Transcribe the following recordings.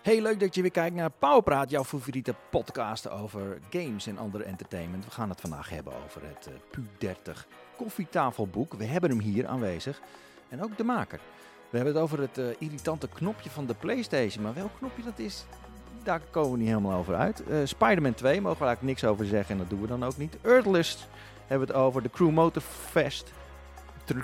Hey, leuk dat je weer kijkt naar Powerpraat, jouw favoriete podcast over games en andere entertainment. We gaan het vandaag hebben over het eh, PU30 koffietafelboek. We hebben hem hier aanwezig en ook de maker. We hebben het over het eh, irritante knopje van de PlayStation, maar welk knopje dat is, daar komen we niet helemaal over uit. Eh Spider-Man 2 mogen we eigenlijk niks over zeggen en dat doen we dan ook niet. Earthless hebben we het over, de Crew Motorfest. De,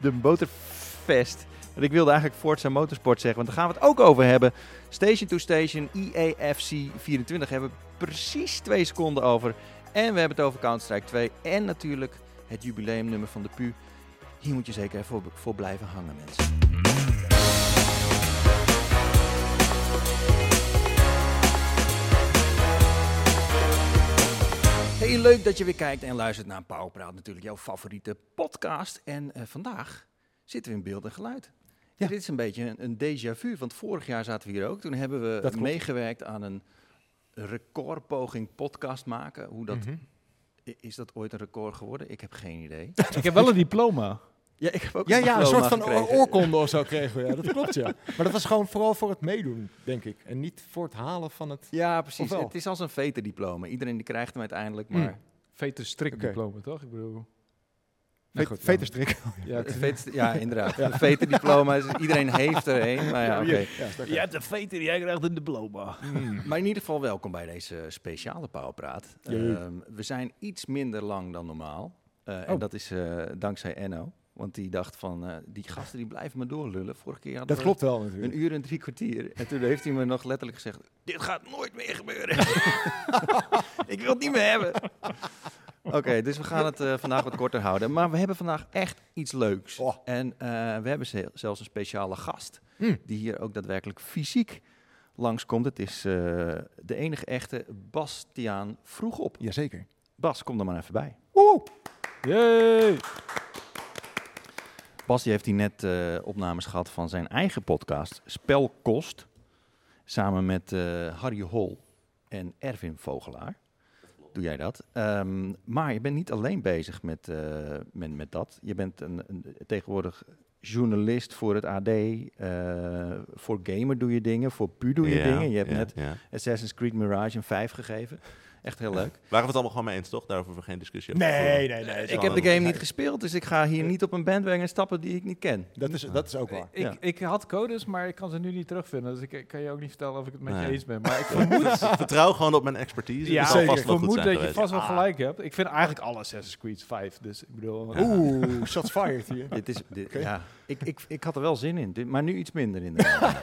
de Motorfest. En Ik wilde eigenlijk Forza Motorsport zeggen, want daar gaan we het ook over hebben. Station to Station, E EAFC 24 hebben we precies twee seconden over. En we hebben het over Counter-Strike 2 en natuurlijk het jubileumnummer van de PU. Hier moet je zeker even voor, voor blijven hangen, mensen. Heel leuk dat je weer kijkt en luistert naar Pauwpraat, natuurlijk jouw favoriete podcast. En eh, vandaag zitten we in beeld en geluid. Ja. Dit is een beetje een, een déjà vu, want vorig jaar zaten we hier ook. Toen hebben we Dat klopt. meegewerkt aan een recordpoging podcast maken. Hoe dat, i- Is dat ooit een record geworden? Ik heb geen idee. Ik heb wel een diploma. ja, ik heb ook Ja, een, ja, een diploma soort van o- gekregen. oorkonde of zo kregen we. Ja, dat klopt, ja. Maar dat was gewoon vooral voor het meedoen, denk ik. En niet voor het halen van het... Ja, precies. Of wel? Het is als een veterdiploma. Iedereen die krijgt hem uiteindelijk, Mm. maar Veter strik diploma, toch? Ik bedoel. Nou Ve- goed, veterstrik. Ja, het ik- veter- ja inderdaad. Een veterdiploma, is- iedereen heeft er een. Maar, ja, oké. Ja, sterk. Je hebt een veter, jij krijgt een diploma. maar in ieder geval welkom bij deze speciale Pauwpraat. Jee. Ehm, we zijn iets minder lang dan normaal. Eh, En Oh. dat is eh, dankzij Enno. Want die dacht van, eh, die gasten die blijven maar doorlullen. Vorige keer hadden Dat we klopt wel natuurlijk. Een uur en drie kwartier. En toen heeft hij me nog letterlijk gezegd: Dit gaat nooit meer gebeuren. ik wil het niet meer hebben. Oké, dus we gaan het eh, vandaag wat korter houden. Maar we hebben vandaag echt iets leuks. Oh. En eh, we hebben ze- zelfs een speciale gast. Mm. Die hier ook daadwerkelijk fysiek langskomt. Het is eh, de enige echte Bastiaan Vroegop. Jazeker. Bas, kom er maar even bij. Woe! Yay! Bas die heeft hier net eh, opnames gehad van zijn eigen podcast, Spelkost. Samen met eh, Harry Hol en Erwin Vogelaar. Doe jij dat? Ehm, maar je bent niet alleen bezig met, eh, met, met dat. Je bent een, een, tegenwoordig journalist voor het AD. eh, voor Gamer doe je dingen. Voor Pu doe je Ja, dingen. Je hebt ja, net ja. Assassin's Creed Mirage een 5 gegeven. Echt heel leuk. Waren we het allemaal gewoon mee eens, toch? Daarover hoeven we geen discussie over. te Nee, voeren. nee, nee. Ik heb de game niet gespeeld, dus ik ga hier niet op een bandwagon stappen die ik niet ken. Dat is, dat is ook Ik, waar. Ja. ik had codes, maar ik kan ze nu niet terugvinden. Dus ik- ik kan je ook niet vertellen of ik het met je Nee. eens ben. Maar ik vermoed, Vertrouw gewoon op mijn expertise. Ja, Ja, zal zeker. vast ik wel goed vermoed zijn dat je geweest. Ah. vast wel gelijk hebt. Ik vind eigenlijk alle Assassin's Creed 5. Dus ik bedoel, Oeh, shots fired hier. Dit is, dit- Oké. ja, ik, ik, ik had er wel zin in, dit- maar nu iets minder inderdaad.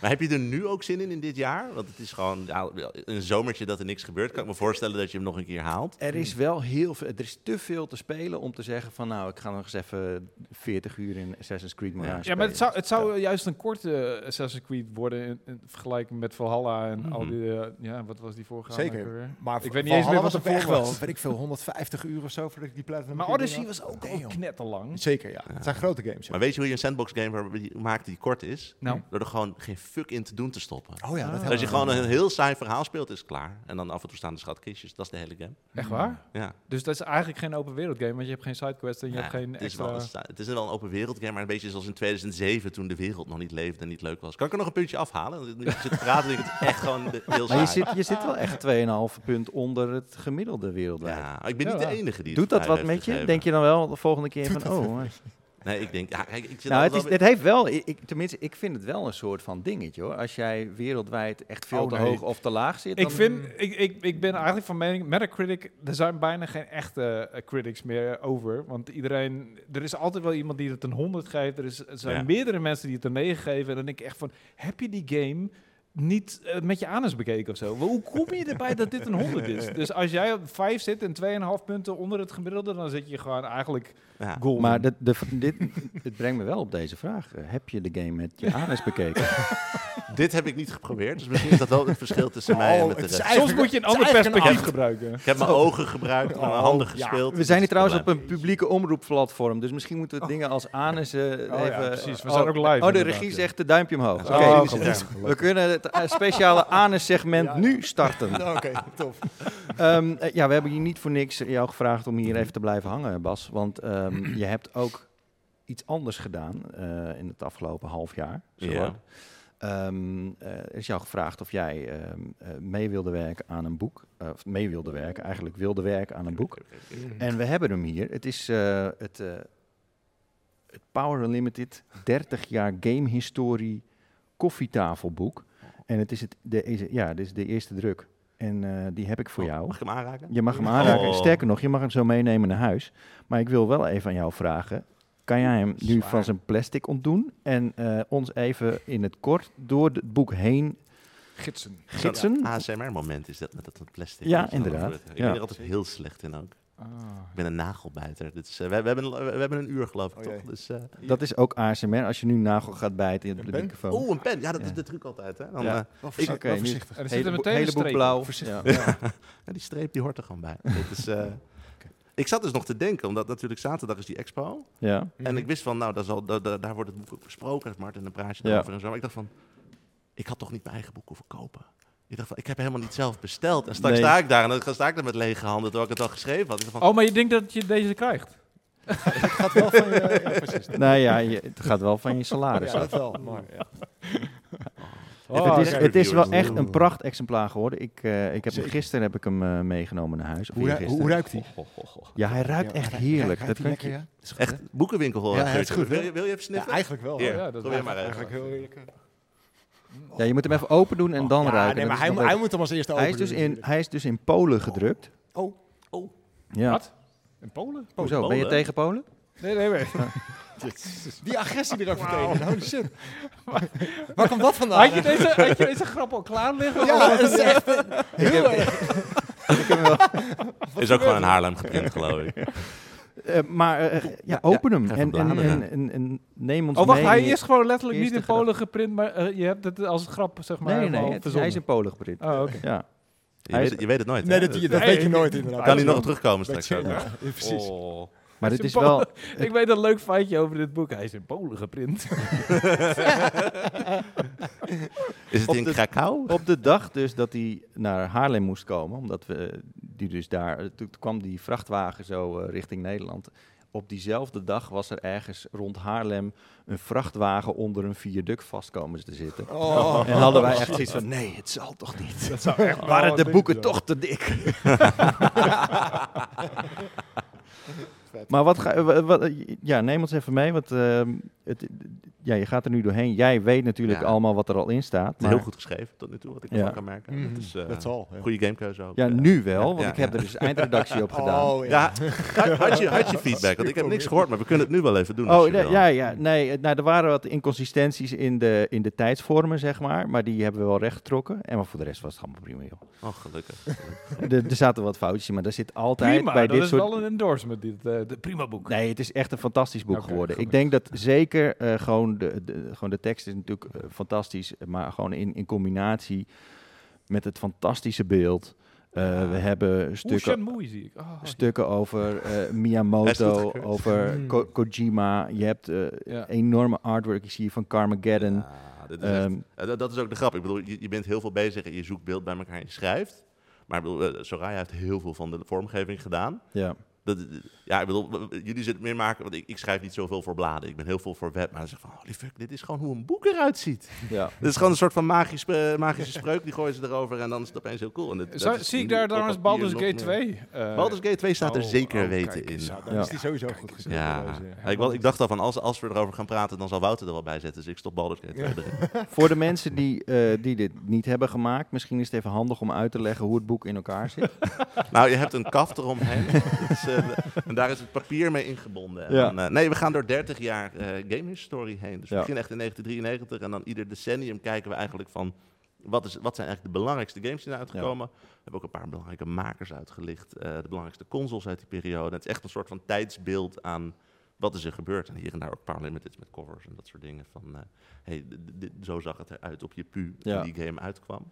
Maar heb je er nu ook zin in in dit jaar? Want het is gewoon ja, een zomertje dat er niks gebeurt. Kan ik me voorstellen dat je hem nog een keer haalt. er is wel heel veel, er is te veel te spelen om te zeggen van nou, ik ga nog eens even 40 uur in Assassin's Creed Mirage Ja, maar het zou, het zou juist een korte eh, Assassin's Creed worden in, in vergelijking met Valhalla en al Mhm. die... eh, ja, wat was die voorgaande Zeker. ook alweer? Maar Ik weet niet eens meer wat was ervoor echt wel, was. weet ik veel, 150 uur of zo voordat ik die platinum Maar Platinum Odyssey had. was ook Damn. al knetterlang. Zeker, ja. Het zijn grote games. ja. Eh, Maar weet je hoe je een sandbox game waar- die- maakt die kort is? Nou, Door er gewoon geen fuck in te doen te stoppen. Oh ja, dat Ah. helpt. Als je gewoon een heel saai verhaal speelt, is het klaar. En dan af en toe staan de schatkistjes. Dat is de hele game. echt waar? Ja. Dus dat is eigenlijk geen open wereld game, want je hebt geen sidequests en je Ja, hebt geen het, is extra... wel een, sta- het is wel een open wereld game, maar een beetje zoals in 2007 toen de wereld nog niet leefde en niet leuk was. Kan ik er nog een puntje afhalen? Want Nu ik zit te praten, denk ik het echt gewoon de- heel Maar saai. je zit, je zit wel echt 2,5 punt onder het gemiddelde wereldwijd. Ja, ik ben Ja, niet de waar. enige die het Doet dat mij wat heeft met je? gegeven. Denk je dan wel de volgende keer van oh. hè. Nee, ik denk... Ja, kijk, ik zit Nou, het, altijd is, wel weer- het heeft wel, ik, ik- tenminste, ik vind het wel een soort van dingetje hoor. Als jij wereldwijd echt veel Oh, te nee. hoog of te laag zit. Ik, dan- vind, eh, ik, ik, ik ben eigenlijk van mening, Metacritic, er zijn bijna geen echte eh, critics meer over. Want iedereen, er is altijd wel iemand die het een 100 geeft. Er, is, er zijn Ja. meerdere mensen die het een 9 geven. En dan denk ik echt van, heb je die game niet eh, met je anus bekeken of zo? Wel, Hoe kom je erbij dat dit een 100 is? Dus als jij op 5 zit en 2,5 punten onder het gemiddelde, dan zit je gewoon eigenlijk Ja. goal. Maar de, de, dit, het brengt me wel op deze vraag. Eh, Heb je de game met je anus bekeken? Dit heb ik niet geprobeerd, dus misschien is dat wel het verschil tussen mij en Oh, met de het is rest. eigenlijk- Soms moet je een het is ander eigenlijk een perspectief acht. gebruiken. Ik heb mijn ogen gebruikt, en mijn Oh, handen ja. gespeeld. We zijn hier niet trouwens op een publieke omroepplatform, dus misschien moeten we dingen als anus eh, Oh. ja, even... precies. We oh, zijn ook live, Oh, de inderdaad, regie ja. zegt de duimpje omhoog. Oké, Oké, Oh, nu is het gelukkig. daar. we kunnen het eh, speciale anus-segment Ja, ja. nu starten. Oké, tof. Ehm, eh, ja, we hebben je niet voor niks jou gevraagd om hier even te blijven hangen, Bas. Want ehm, je hebt ook iets anders gedaan eh, in het afgelopen half jaar. zo Ja. wat. Ehm, eh, er is jou gevraagd of jij ehm, eh, mee wilde werken aan een boek. Eh, of mee wilde werken, eigenlijk wilde werken aan een boek. En we hebben hem hier. Het is eh, het, eh, het Power Unlimited 30 jaar gamehistorie koffietafelboek. En het is, het, de, is, ja, dit is de eerste druk. En eh, die heb ik voor jou. Mag ik hem aanraken? Je mag hem aanraken. Oh. Sterker nog, je mag hem zo meenemen naar huis. Maar ik wil wel even aan jou vragen. Kan jij hem nu Zwaar. van zijn plastic ontdoen en eh, ons even in het kort door het boek heen Gidsen. gidsen? ASMR-moment is dat met dat plastic. Ja, Weet je wel, inderdaad. dat wordt- Ik Ja. ben er altijd heel slecht in ook. Ah, Ik ben een nagelbijter. Dit is, eh, we, we hebben, we hebben een uur, geloof ik, Oh, jee. toch? Dus, eh, Dat is ook ASMR. Als je nu nagel gaat bijten in de pen? microfoon. oh, een pen. Ja, dat Ja. is de truc altijd. Hè? Dan, Ja. eh, Wel Ik- voorzichtig. oké, wel nu- voorzichtig. En er zit er Hele boek- meteen een heleboek streep. blauw. Voorzichtig. Ja. ja, die streep die hoort er gewoon bij. dat is, eh, Ik zat dus nog te denken, omdat natuurlijk zaterdag is die expo. Ja. Mhm. En ik wist van, nou, daar, zal, daar- daar- daar wordt het boek ook besproken, Martin, dan praat je Ja. erover en zo. Maar ik dacht van, ik had toch niet mijn eigen boek hoeven kopen. Ik dacht van, ik heb helemaal niet zelf besteld. En straks Nee. sta ik daar en dan ga- sta ik daar met lege handen, terwijl ik het al geschreven had. Ik dacht van, Oh, maar je denkt dat je deze krijgt? gaat wel van je... Ja, precies. Nou ja, je- het gaat wel van je salaris Ja, af. dat wel. Maar, ja. Oh, het, is, oké. het is wel Reviewers. echt een pracht exemplaar geworden. Ik, eh, ik heb hem, Zeker. gisteren heb ik hem eh, meegenomen naar huis. Of Hoe, ru- eergisteren. hoe ruikt hij? Ja, hij ruikt echt heerlijk. Dat kan ik je- ja? echt boekenwinkel. Ja, eh, het is goed, Wil hè? je, wil je even Ja, sniffen? eigenlijk wel. Hier, Oh, ja, dat probeer is maar even. Eigenlijk heel eerlijk. ja, je moet hem even open doen en dan Oh, ja, ruiken. Nee, Dat maar is nog hij, moet- beter. hij moet hem als eerste Hij is, openen dus in, natuurlijk. hij is dus in Polen gedrukt. Oh, Ja. Wat? In Polen? Hoezo? Ben je Polen? tegen Polen? Nee, nee, nee. die agressie er ook meteen. Holy shit. Waar komt dat vandaan? Had je, deze, had je deze grap al klaar liggen? Ja, dat is echt heel erg. Is ook gewoon in Haarlem geprint, geloof ik. Eh, maar eh, ja, open hem. ga En, even en, en, bladeren. en, en neem ons Oh, wacht, mee. hij is gewoon letterlijk niet Eerste in Polen geprint, maar eh, je hebt het als grap, zeg maar, Nee, nee, helemaal nee. het- hij Oh, verzonnen. is in Polen geprint. Oh, oké. Ja. Je, Hij is- weet, het- je weet het nooit. Nee, hè? dat, die- dat weet je nooit inderdaad. kan hij nog Dat terugkomen straks je- ook. hè? ja, precies. Oh. Maar Hij het is in wel... Polen. Ik weet een leuk feitje over dit boek. Hij is in Polen geprint. Is het Op in de- Krakau? Op de dag dus dat hij naar Haarlem moest komen, omdat we die dus daar, toen toen kwam die vrachtwagen zo eh, richting Nederland. Op diezelfde dag was er ergens rond Haarlem een vrachtwagen onder een viaduct vast komen te zitten. Oh. En hadden wij echt zoiets van, nee, het zal toch niet. Oh, Waren de boeken toch te dik? maar wat ga, wa- wat, ja, neem ons even mee, want ehm, het, ja, je gaat er nu doorheen. Jij weet natuurlijk Ja. allemaal wat er al in staat. Het is Maar heel goed geschreven tot nu toe, wat ik Ja. ervan kan merken. Mhm, Dat is eh, Dat zal. ja. goede gamekeuze ook. Ja, Eh, nu wel, want ja, ik heb ja. er dus eindredactie op gedaan. Oh, ja. Ja, had, had je, had je feedback? Want ik heb niks gehoord, maar we kunnen het nu wel even doen. als Oh, je nee, wil. ja, ja. Nee, eh, nou, er waren wat inconsistenties in de, in de tijdsvormen, zeg maar. Maar die hebben we wel rechtgetrokken. En maar voor de rest was het allemaal prima, joh. Oh, gelukkig. gelukkig. Er, er zaten wat foutjes in, maar er zit altijd Prima, bij dat dit is soort... wel een endorsement, dit eh, de prima boek. Nee, het is echt een fantastisch boek Oké, geworden. Ik gelukkig. denk dat zeker eh, gewoon, de, de, gewoon de tekst is natuurlijk eh, fantastisch. Maar gewoon in, in combinatie met het fantastische beeld. Eh, Ja. We hebben Hoe stukken Shenmue zie ik. Oh, stukken over eh, Hij is goed Miyamoto, gekeurd. over Mm. Ko- Kojima. Je hebt eh, Ja. enorme artwork. Ik zie hier van Carmageddon. Ja, dit is echt- Ehm, eh, dat, dat is ook de grap. Ik bedoel, je, je bent heel veel bezig en je zoekt beeld bij elkaar en je schrijft. Maar ik bedoel, eh, Soraya heeft heel veel van de vormgeving gedaan. ja. Dat, ja, ik bedoel, w- w- jullie zullen het meer maken, want ik, ik schrijf niet zoveel voor bladen. Ik ben heel veel voor web, maar dan zeg ik van, holy fuck, dit is gewoon hoe een boek eruit ziet. ja. Dit is gewoon een soort van magisch, eh, magische spreuk, die gooien ze erover en dan is het opeens heel cool. En dit- dat Zou- is zie ik nu daar op trouwens papier Baldur's nog Gate meer. 2? eh, Baldur's Gate 2 staat er Oh, zeker oh, weten kijk in. eens Ja, Ja, dan Ja. is die sowieso goed geschreven. deze. ik, wel, ik dacht al van, als, als we erover gaan praten, dan zal Wouter er wel bij zetten. Dus ik stop Baldur's Gate 2 erin. Voor de mensen die, eh, die dit niet hebben gemaakt, misschien is het even handig om uit te leggen hoe het boek in elkaar zit. Nou, je hebt een kaft eromheen. Dat is, eh, de- en daar is het papier mee ingebonden. En Ja. dan, eh, nee, we gaan door 30 jaar eh gamehistorie heen. Dus we Ja. beginnen echt in 1993. En dan ieder decennium kijken we eigenlijk van... Wat, is, wat zijn eigenlijk de belangrijkste games die zijn uitgekomen? We hebben ook een paar belangrijke makers uitgelicht. eh, de belangrijkste consoles uit die periode. Het is echt een soort van tijdsbeeld aan wat is er gebeurd. En hier en daar ook Parliamentits met covers en dat soort dingen. Van, eh, hey, d- d- dit- zo zag het eruit op je pu Ja. toen die game uitkwam.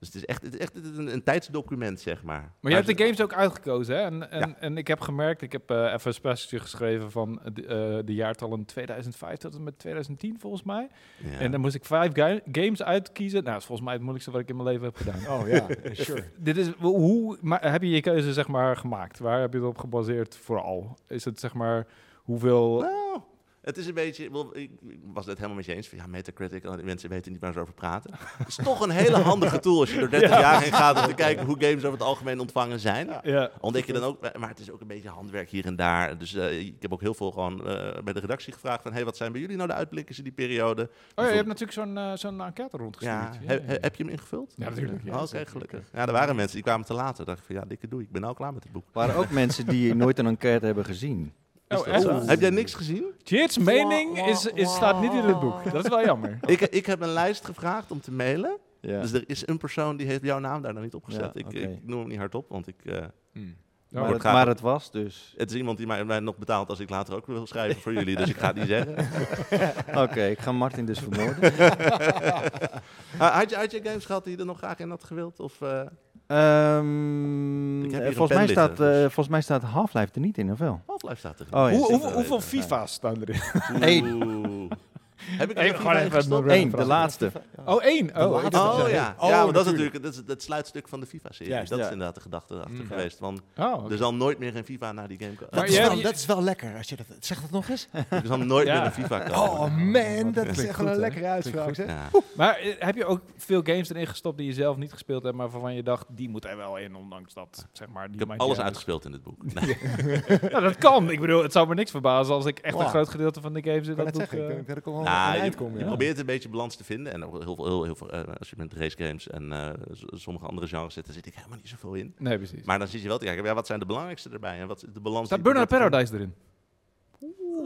Dus het is echt, het is echt een, een tijdsdocument, zeg maar. Maar je hebt de games ook uitgekozen, hè? En, en, Ja. en ik heb gemerkt, ik heb eh, even een spelletje geschreven van eh, de, eh, de jaartallen 2005 tot en met 2010, volgens mij. Ja. En dan moest ik vijf ga- games uitkiezen. Nou, dat is volgens mij het moeilijkste wat ik in mijn leven heb gedaan. Oh ja, eh, sure. Dit is, w- hoe ma- heb je je keuze, zeg maar, gemaakt? Waar heb je het op gebaseerd vooral? Is het, zeg maar, hoeveel... Nou, Het is een beetje, ik bedoel, ik ik was het helemaal met je eens. van, Ja, Metacritic, al die mensen weten niet waar ze over praten. Het is toch een hele handige tool als je door 30 Ja. jaar heen gaat om te kijken hoe games over het algemeen ontvangen zijn. Ja. Ontdek je dan ook, maar het is ook een beetje handwerk hier en daar. Dus eh, ik heb ook heel veel gewoon eh, bij de redactie gevraagd van, hey, wat zijn bij jullie nou de uitblikken in die periode? Oh ja, je Bijvoorbeeld- hebt natuurlijk zo'n eh, zo'n enquête ja, rondgestuurd. he- he- heb je hem ingevuld? Ja, natuurlijk, ja. Oh, Oké, gelukkig. Ja, er waren mensen die kwamen te later. Dacht ik van, ja, dikke doei, ik ben al klaar met het boek. waren ook mensen die nooit een enquête hebben gezien. Oh, Is dat echt? zo? Heb jij niks gezien? Jits mening is, is, staat niet in het boek. Dat is wel jammer. Ik, ik heb een lijst gevraagd om te mailen. Ja. Dus er is een persoon die heeft jouw naam daar nog niet op gezet. Ja, ik, oké. ik noem hem niet hardop, want ik, eh, Ja, maar, wordt het, graag- maar het was dus. het is iemand die mij, mij nog betaalt als ik later ook wil schrijven voor jullie. Dus ik ga het niet zeggen. Oké, ik ga Martin dus vermoorden. Ah, had, je, had je games gehad die je er nog graag in had gewild? Of, eh, Ehm, Ik heb eh, hier een volgens, mij pen staat, liggen, eh, dus- volgens mij staat Half-Life er niet in, of wel? Half-Life staat er. Oh, ja. Hoe, hoe, Zeker hoeveel weten. FIFA's staan erin? Eén. Oeh. Heb ik er Eén, nog gewoon niet even gestopt? nog- Eén, de vraag. laatste. Oh, één. Oh, ik dacht dat Oh je- ja, Oh, ja want dat is natuurlijk. natuurlijk dat is het sluitstuk van de FIFA-serie. Juist, dat ja. is inderdaad de gedachte erachter Mm. geweest. Want Oh, oké. er zal nooit meer een FIFA naar die game komen. Maar dat, is jij- wel, je- dat is wel lekker. Als je dat, zeg dat nog eens. Er zal nooit Ja. meer een FIFA komen. Oh man, dat is Klinkt echt goed, wel een hè? lekkere uitspraak. zeg. Ja. Maar eh, heb je ook veel games erin gestopt die je zelf niet gespeeld hebt, maar waarvan je dacht, die moet er wel in, ondanks dat, zeg maar. Die Ik heb maakt alles niet uit. uitgespeeld in dit boek. Nou, dat kan. Ik bedoel, het zou me niks verbazen als ik echt een Wow. groot gedeelte van de games in Ik kan dat het boek... zeggen. Ik eh, denk dat ik er wel Nou, aan je- eind kom. Je ja. probeert een beetje balans te vinden. En ook heel veel, heel, heel veel eh, als je met race games en eh, z- sommige andere genres zit, dan zit ik helemaal niet zoveel in. Nee, precies. Maar dan zit je wel te kijken, ja, wat zijn de belangrijkste erbij? En wat is de balans? Staat die- Burnout Paradise erin?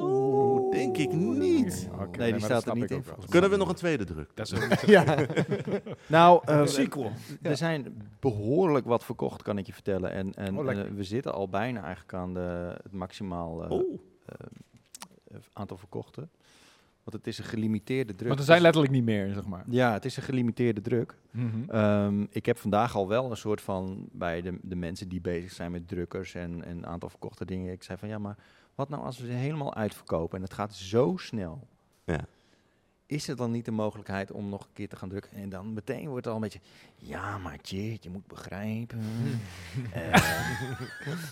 Oeh, denk ik niet. nee, die Oké, maar dat staat er snap niet ik in. ook wel. volgens mij. Kunnen we nog een tweede druk? Dat is ook- Nou, eh, sequel. er zijn behoorlijk wat verkocht, kan ik je vertellen. En, en Oh, lekker. eh, we zitten al bijna eigenlijk aan de, het maximaal eh, Oeh, eh, aantal verkochten. Want het is een gelimiteerde druk. Want er zijn letterlijk niet meer, zeg maar. Ja, het is een gelimiteerde druk. Mhm. Ehm, ik heb vandaag al wel een soort van bij de, de mensen die bezig zijn met drukkers en en een aantal verkochte dingen. Ik zei van ja, maar wat nou als we ze helemaal uitverkopen en het gaat zo snel? Ja. Is er dan niet de mogelijkheid om nog een keer te gaan drukken? En dan meteen wordt het al een beetje, ja maar Tjeerd, je moet begrijpen. eh,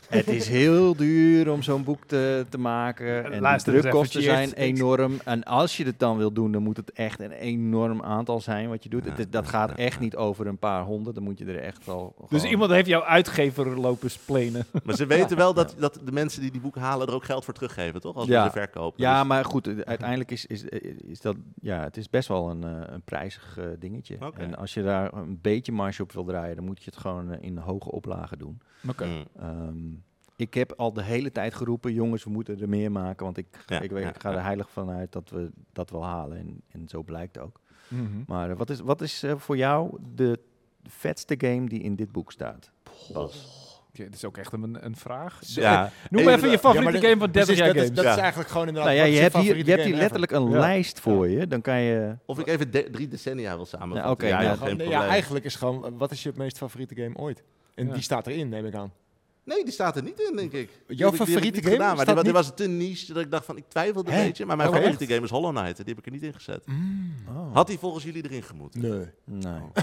het is heel duur om zo'n boek te, te maken. En de Luister eens drukkosten even, zijn Tjeerd. enorm. En als je het dan wil doen, dan moet het echt een enorm aantal zijn wat je doet. Ja, Het is- dat ja, gaat ja, echt ja. niet over een paar honderd. Dan moet je er echt al. Dus gewoon- iemand heeft jouw uitgever lopen splenen. maar ze weten wel dat, dat de mensen die die boeken halen er ook geld voor teruggeven, toch? Als Ja. we ze verkopen. Ja, Dus- maar goed, eh, uiteindelijk is, is, eh, is dat. Ja, het is best wel een, eh, een prijzig eh, dingetje. Oké. En als je daar een beetje marge op wil draaien, dan moet je het gewoon eh, in hoge oplagen doen. Mm. Ehm, ik heb al de hele tijd geroepen, jongens, we moeten er meer maken. Want ik, Ja, ik, weet, ja, ik ga ja. er heilig van uit dat we dat wel halen. En, en zo blijkt ook. Mhm. Maar eh, wat is, wat is eh, voor jou de vetste game die in dit boek staat? Bas? Ja, dit is ook echt een, een vraag. Ja. Noem even, Even je dat- favoriete Ja, maar game van 30 Precies, jaar dat games. is, dat Ja. is eigenlijk gewoon inderdaad... Nou ja, wat je is hebt hier, favoriete je hebt hier game ever? letterlijk een Ja. lijst voor je. Dan kan je... Of ik even de- drie decennia wil samenvatten. Ja, oké, ja, nou, ja, Ja, geen gewoon- geen nee, probleem. ja, eigenlijk is gewoon, eh, wat is je meest favoriete game ooit? En Ja. die staat erin, neem ik aan. Nee, die staat er niet in, denk ik. Die heb ik- die heb ik favoriete niet game Gedaan, maar die, staat wa- die niet- was te niche dat ik dacht van, ik twijfelde een Hè? beetje. Maar mijn Oh, favoriete game is Hollow Knight. en Die heb ik er niet in gezet. Mm. Had die volgens jullie erin gemoeten? Nee. Nee. Oh.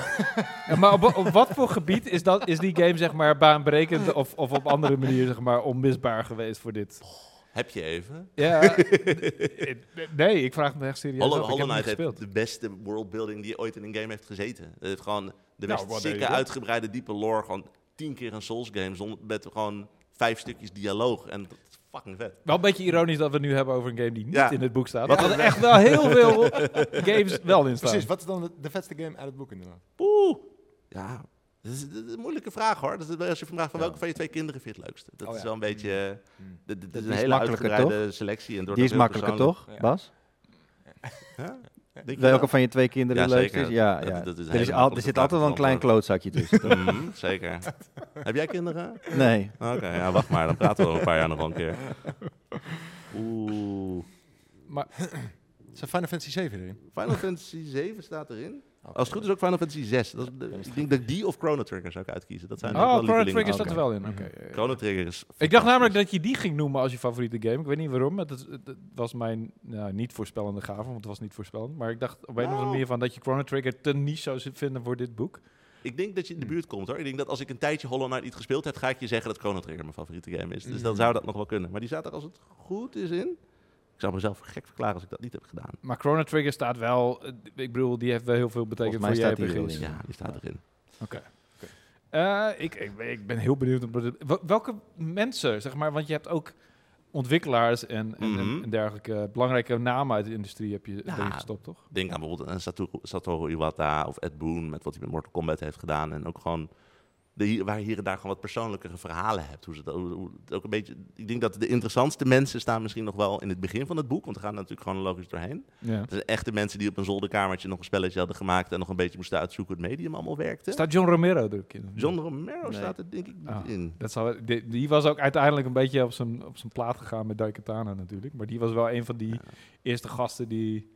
Ja, maar op, op wat voor gebied is, dat, is die game zeg maar baanbrekend of, of op andere manier zeg maar onmisbaar geweest voor dit? Heb je even? Ja, eh, nee, ik vraag me echt serieus af. Hollow, Ik heb hem Hollow niet Knight gespeeld. heeft de beste worldbuilding die ooit in een game heeft gezeten. Het heeft gewoon de Nou, meest wat sikke, deed je? uitgebreide, diepe lore. Gewoon tien keer een Souls game zonder, met gewoon vijf stukjes dialoog. En dat is fucking vet. Wel een beetje ironisch dat we het nu hebben over een game die niet Ja. in het boek staat. Wat Wat er echt wel heel veel games wel in staan. Precies, wat is dan de, de vetste game uit het boek inderdaad? Oeh. Ja. Dat is, dat is een moeilijke vraag hoor. Dat is, als je vraagt van welke van je twee kinderen vind je het leukste. Dat Oh, is ja. wel een beetje... eh, Hmm. Dat, dat is een Mm. is hele makkelijker, uitgebreide selectie. En door Die dat is heel makkelijker, persoonlijk- toch, Ja. Bas? Ja? Denk je Welke wel? van je twee kinderen Ja, het leukste zeker. is? Ja, Dat- ja. dat is er, is helemaal al, er goed zit te altijd wel een klein antwoord. klootzakje tussen. Mhm, zeker. Heb jij kinderen? nee. Oké, ja, wacht maar. Dan praten we over een paar jaar nog wel een keer. Oeh. Zijn Final Fantasy 7 erin? Final Fantasy 7 staat erin. Oh. Als het goed is ook Final Fantasy 6. Dat is de- ik denk dat ik die of Chrono Trigger zou ik uitkiezen. Dat zijn Oh, ook wel Chrono lievelingen. Trigger staat er wel in. Oké. Oké, ja, ja. Chrono Trigger is... Ik dacht namelijk dat je die ging noemen als je favoriete game. Ik weet niet waarom. maar Dat, dat was mijn nou, niet voorspellende gave, want het was niet voorspellend. Maar ik dacht op een of andere Nou. manier van dat je Chrono Trigger te niche zou zi- vinden voor dit boek. Ik denk dat je in de buurt komt hoor. Ik denk dat als ik een tijdje Hollow Knight niet gespeeld heb, ga ik je zeggen dat Chrono Trigger mijn favoriete game is. Dus dan zou dat nog wel kunnen. Maar die staat er als het goed is in. Ik zou mezelf gek verklaren als ik dat niet heb gedaan. Maar Chrono Trigger staat wel... eh, Ik bedoel, die heeft wel heel veel betekend voor Volgens mij jij staat die begint. Ja. Ja, die staat erin. Eh, ik, ik, ben- ik ben heel benieuwd. om- wel- Welke mensen, zeg maar, want je hebt ook ontwikkelaars en, en, Mhm. en dergelijke belangrijke namen uit de industrie heb je Nou. erin gestopt, toch? Denk aan bijvoorbeeld een Satoru, Satoru Iwata of Ed Boon met wat hij met Mortal Kombat heeft gedaan. En ook gewoon de, hier- waar je hier en daar gewoon wat persoonlijkere verhalen hebt. Hoe ze dat, hoe- hoe het ook een beetje, ik denk dat de interessantste mensen staan misschien nog wel in het begin van het boek. Want we gaan er natuurlijk chronologisch doorheen. Ja. Dat zijn echte mensen die op een zolderkamertje nog een spelletje hadden gemaakt. En nog een beetje moesten uitzoeken hoe het medium allemaal werkte. Staat John Romero er ook in? John Romero Nee. staat er denk ik niet Ah. in. Dat zou, die, die was ook uiteindelijk een beetje op zijn, op zijn plaat gegaan met Daikatana natuurlijk. Maar die was wel een van die Ja. eerste gasten die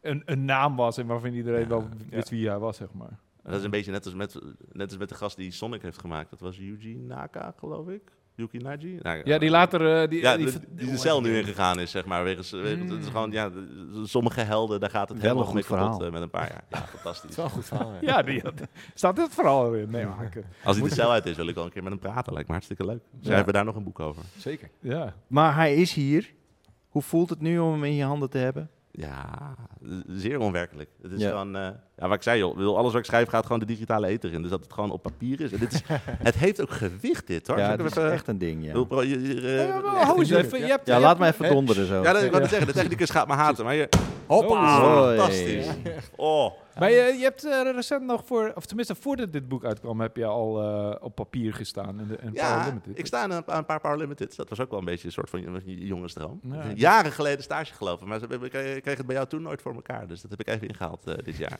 een, een naam was en waarvan iedereen Ja. wel wist wie hij was, zeg maar. Dat is een beetje net als, met, net als met de gast die Sonic heeft gemaakt. Dat was Yuji Naka, geloof ik. Yuki Naji? Nou, Ja, die later... eh, die, Ja, die- de- die de cel nu ingegaan is, zeg maar. Wegens, wegens- het is gewoon, ja, de- sommige helden, daar gaat het Wel een helemaal mee goed kapot verhaal. eh, met een paar jaar. Ja, is fantastisch. wel een goed verhaal. ja. Ja, die, staat dit vooral in? Nee, maar ik- Als hij de cel uit is, wil ik wel een keer met hem praten. Lijkt me hartstikke leuk. Schrijven we daar nog een boek over? Zeker. Ja. Maar hij is hier. Hoe voelt het nu om hem in je handen te hebben? Ja, zeer onwerkelijk. Het is Ja. gewoon, eh, ja, wat ik zei, joh, Ik bedoel, alles wat ik schrijf gaat gewoon de digitale ether in. Dus dat het gewoon op papier is. En dit is het heeft ook gewicht, dit hoor. Ja, Zal ik dat is even- eh, echt een ding, Ik ja. bedoel, pro- je- je- eh, hou eens eens even. even, Je hebt, Ja, laat mij even Hè? donderen zo. ja, dat ik wilde zeggen, de technicus gaat me haten. Maar je, Hoppa! Zo. Hoi. fantastisch. Oh, Maar je, je hebt eh, recent nog voor, of tenminste voordat dit boek uitkwam, heb je al eh, op papier gestaan in de en Power Ja, Limited. ik sta aan een, aan een paar Power Limiteds. Dat was ook wel een beetje een soort van jongensdroom. Ja. Jaren geleden stage gelopen, maar ze hebben- ik kreeg- ik kreeg het bij jou toen nooit voor elkaar. Dus dat heb ik even ingehaald eh, dit jaar.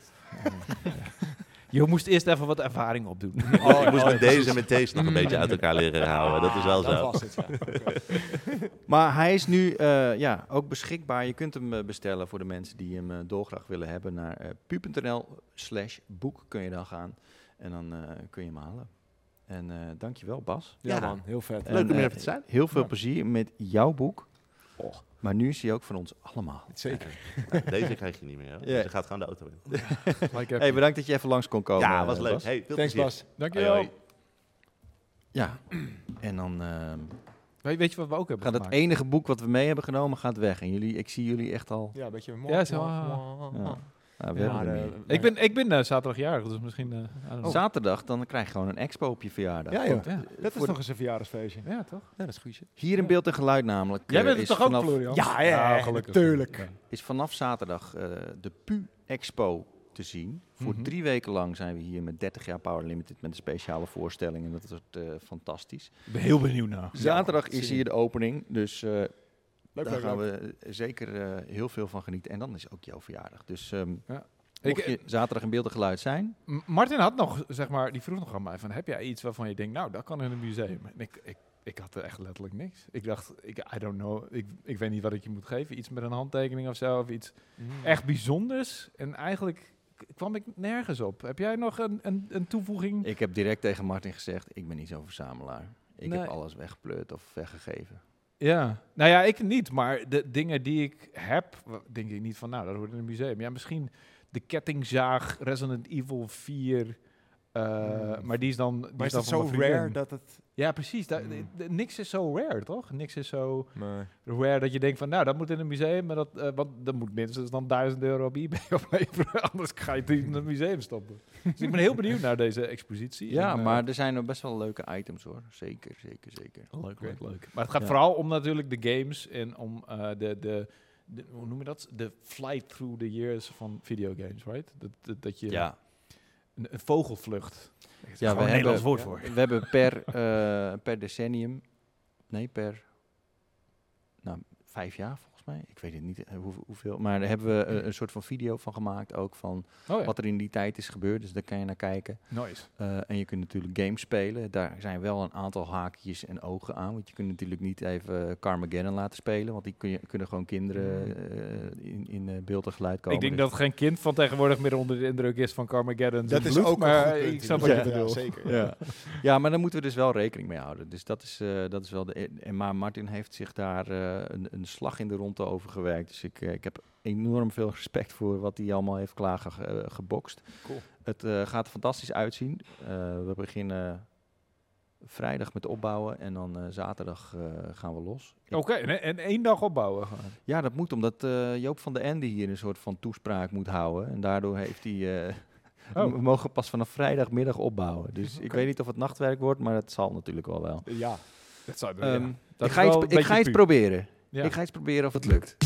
Je moest eerst even wat ervaring opdoen. Oh, ik moest met deze en met deze nog een beetje Mm. uit elkaar leren houden. Dat is wel Nou, Dat zo. Ah, was het, ja. Maar hij is nu eh, ja, ook beschikbaar. Je kunt hem eh, bestellen voor de mensen die hem eh, dolgraag willen hebben. Naar eh, pu.nl slash boek kun je dan gaan. En dan eh, kun je hem halen. En eh dankjewel Bas. Ja, Ja. man. Heel vet. Leuk En, om hier eh, even te zijn. Heel veel plezier met jouw boek. Och. Maar nu is hij ook van ons allemaal. Zeker. Nou, deze krijg je niet meer. Hoor. Ja. Ze gaat gewoon de auto in. Gelijk even. Hey, bedankt dat je even langs kon komen. ja, was eh, leuk. Bas. Hey, veel Thanks, plezier. Bas. Dankjewel. Hoi, hoi. Ja, en dan eh, We- weet je wat we ook hebben gaat het gemaakt? enige boek wat we mee hebben genomen gaat weg. En jullie, ik zie jullie echt al. Ja, een beetje... Ja, zo. Ja. Ah, we Ja, hebben er eh, meer. Ik ben, ik ben eh, zaterdag jarig, dus misschien... eh, I Oh. don't know. Zaterdag, dan krijg je gewoon een expo op je verjaardag. Ja, joh. Ja. Dat is Voor- nog eens een verjaardagsfeestje. Ja, ja, toch? dat is goed. shit. Hier in beeld en geluid namelijk. Jij eh, bent is het toch ook, vanaf, Florian? Ja, ja, Nou, gelukkig. tuurlijk. Ja. Is vanaf zaterdag eh, de Pu Expo te zien. Voor Mhm. drie weken lang zijn we hier met 30 jaar Power Limited met een speciale voorstelling. En dat wordt eh, fantastisch. Ik ben heel benieuwd naar. Zaterdag zin is in. hier de opening. Dus eh, Leuk, daar leuk, gaan leuk. we zeker eh, heel veel van genieten. En dan is ook jouw verjaardag. Dus ehm Ik, eh, mocht je zaterdag in beeld en geluid zijn. M- Martin had nog, zeg maar, die vroeg nog aan mij van, heb jij iets waarvan je denkt, nou, dat kan in een museum? En ik, ik, ik had er echt letterlijk niks. Ik dacht, ik, I don't know, ik, ik weet niet wat ik je moet geven. Iets met een handtekening of zo, of iets echt bijzonders. En eigenlijk k- kwam ik nergens op. Heb jij nog een, een, een toevoeging? Ik heb direct tegen Martin gezegd, ik ben niet zo'n verzamelaar. Ik Nee. heb alles weggepleurd of weggegeven. Ja. Nou ja, ik niet, maar de dingen die ik heb, wa- denk ik niet van, nou, dat hoort in een museum. Ja, misschien de kettingzaag, Resident Evil 4... eh, Hmm. Maar die is dan. Die Maar is dan dat zo van mijn vriendin. rare dat het... Ja, precies. Da- Mm. de- de- niks is zo rare, toch? Niks is zo rare dat je denkt van, nou, dat moet in een museum, maar dat, eh, want dat moet minstens dan 1000 euro op eBay opleveren, anders ga je het niet in een museum stoppen. Dus ik ben heel benieuwd naar deze expositie. Ja, En, eh, maar er zijn nog best wel leuke items hoor. Zeker, zeker, zeker. leuk, leuk, leuk. Maar het gaat Ja. vooral om natuurlijk de games en om eh, de, de, de, hoe noem je dat? De flight through the years van videogames, right? Dat, dat, dat je Ja, een, een vogelvlucht. ja we, een hebben, Nederlands woord ja. voor. we hebben per, eh, per decennium, nee, per nou, vijf jaar volgens mij, ik weet het niet eh, hoe- hoeveel, maar daar hebben we eh, een soort van video van gemaakt ook van Oh ja, wat er in die tijd is gebeurd. Dus daar kan je naar kijken. nice. Eh, en je kunt natuurlijk games spelen. Daar zijn wel een aantal haakjes en ogen aan. Want je kunt natuurlijk niet even eh, Carmageddon laten spelen. Want die kun je, kunnen gewoon kinderen eh, in, in eh, beeld en geluid komen. Mm. Ik denk Dus- dat geen kind van tegenwoordig meer onder de indruk is van Carmageddon. Dat is ook een maar goed punt, ik snap wat je inderdaad. bedoelt. Ja, zeker. ja. ja, maar daar moeten we dus wel rekening mee houden. Dus dat is, eh, dat is wel de. En maar Martin heeft zich daar eh, een, een slag in de ronde over gewerkt. Dus ik, eh, ik heb enorm veel respect voor wat hij allemaal heeft klaargebokst. Cool. Het eh, gaat er fantastisch uitzien. Eh, we Eh, beginnen Vrijdag met opbouwen en dan eh, zaterdag eh, gaan we los. Ik- Oké, en, en één dag opbouwen. gewoon. Ja, dat moet omdat eh, Joop van den Ende hier een soort van toespraak moet houden. En daardoor heeft hij... eh, Oh. We mogen pas vanaf vrijdagmiddag opbouwen. Dus ik weet niet of het nachtwerk wordt, maar het zal natuurlijk wel wel. Ja. Dat zou Ehm, dat ik is ga iets, wel een ik ga beetje iets puur. proberen. Ja. Ik ga iets proberen of het lukt.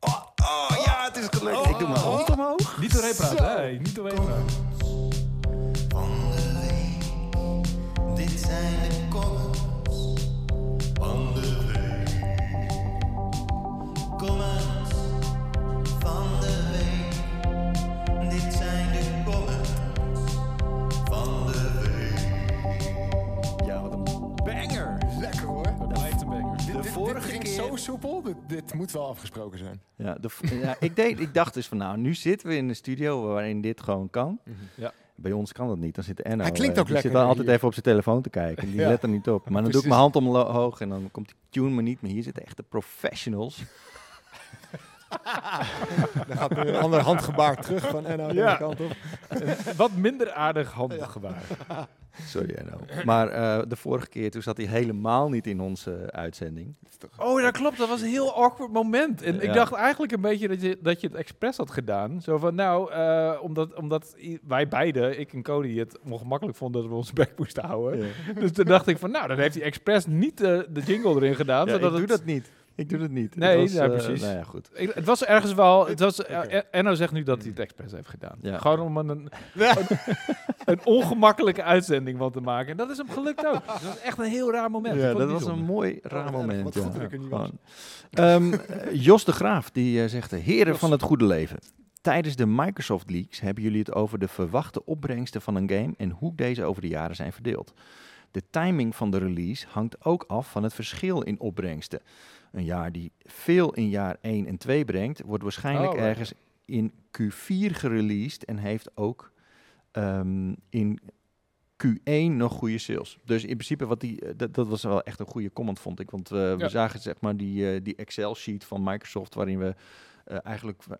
Oh, oh, ja, het is gelukt. ik doe mijn Oh. hand omhoog. Niet doorheen praten. Hey, niet doorheen praten. van de week. Dit zijn de comments van de week. Comments van de week. Dit zijn de comments van de week. Ja, wat een banger. Lekker hoor. Dat lijkt een banger. De vorige ging keer- zo soepel. Dit, dit moet wel afgesproken zijn. Ja, de, v- ja, ik, deed, ik dacht dus van nou, nu zitten we in een studio waarin dit gewoon kan. Ja. Bij ons kan dat niet, dan zit Enno. Mhm. Hij klinkt eh, ook die lekker zit wel altijd hier. even op zijn telefoon te kijken. Die Ja. let er niet op. Maar dan doe ik mijn hand omhoog en dan komt die tune me niet. Maar hier zitten echte professionals. Dan gaat er een ander handgebaar terug van Enno de Ja. andere kant op. Wat minder aardig handgebaar. Sorry Enno. Maar eh, de vorige keer, toen zat hij helemaal niet in onze eh, uitzending. Oh, dat klopt. Dat was een heel awkward moment. En Ja. ik dacht eigenlijk een beetje dat je, dat je het expres had gedaan. Zo van, nou, eh, omdat, omdat i- wij beiden, ik en Cody, het ongemakkelijk vonden dat we ons bek moesten houden. Dus toen dacht ik van, nou, dan heeft hij expres niet eh, de jingle erin gedaan. Ja, ik zodat doe het, dat niet. Ik doe dat niet. Nee, Het ja, eh, precies. nou ja, goed. Ik- het was ergens wel. Het was, eh, Oké. eh, Enno zegt nu dat hij het expres heeft gedaan. Mm. Ja. Gewoon om een, een, een ongemakkelijke uitzending van te maken. En dat is hem gelukt ook. Dus dat was echt een heel raar moment. Ja, Ik vond dat het was een bijzonder. mooi erg, raar Oh, wat moment. goed dat ik er niet was. Gewoon. Ehm, eh, Jos de Graaf die eh, zegt: Heren Jos. van het goede leven. Tijdens de Microsoft Leaks hebben jullie het over de verwachte opbrengsten van een game en hoe deze over de jaren zijn verdeeld. De timing van de release hangt ook af van het verschil in opbrengsten. Een jaar die veel in jaar 1 en 2 brengt, wordt waarschijnlijk Oh, right. ergens in Q4 gereleased en heeft ook ehm, in Q1 nog goede sales. Dus in principe, wat die, eh, dat, dat was wel echt een goede comment, vond ik. Want eh, we Ja. zagen zeg maar die, eh, die Excel-sheet van Microsoft, waarin we eh, eigenlijk eh,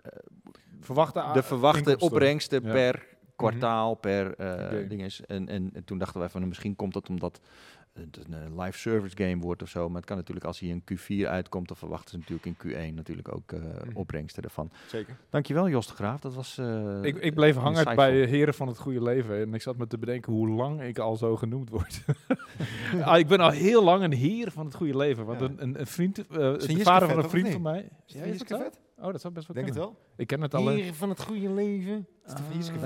Verwachte a- de verwachte inkomsten. opbrengsten Ja. Mhm. per kwartaal, per eh Oké. dinges. En, en, en toen dachten wij van, misschien komt dat omdat het een eh, live service game wordt of zo. Maar het kan natuurlijk, als hij in Q4 uitkomt, dan verwachten ze natuurlijk in Q1 natuurlijk ook eh, Mhm. opbrengsten ervan. Zeker. Dankjewel, Jos de Graaf. Dat was... eh, Ik, ik bleef hangen insightful. bij eh, Heren van het Goede Leven. En ik zat me te bedenken hoe lang ik al zo genoemd word. ah, ik ben al heel lang een Heer van het Goede Leven. Want Ja. een, een, een vriend, eh, de Jiske vader vet, van een of vriend niet? van mij. Ja, is dat zo? vet? Oh, dat zou best wel Denk het kunnen. wel. Ik ken het alleen. van het goede leven.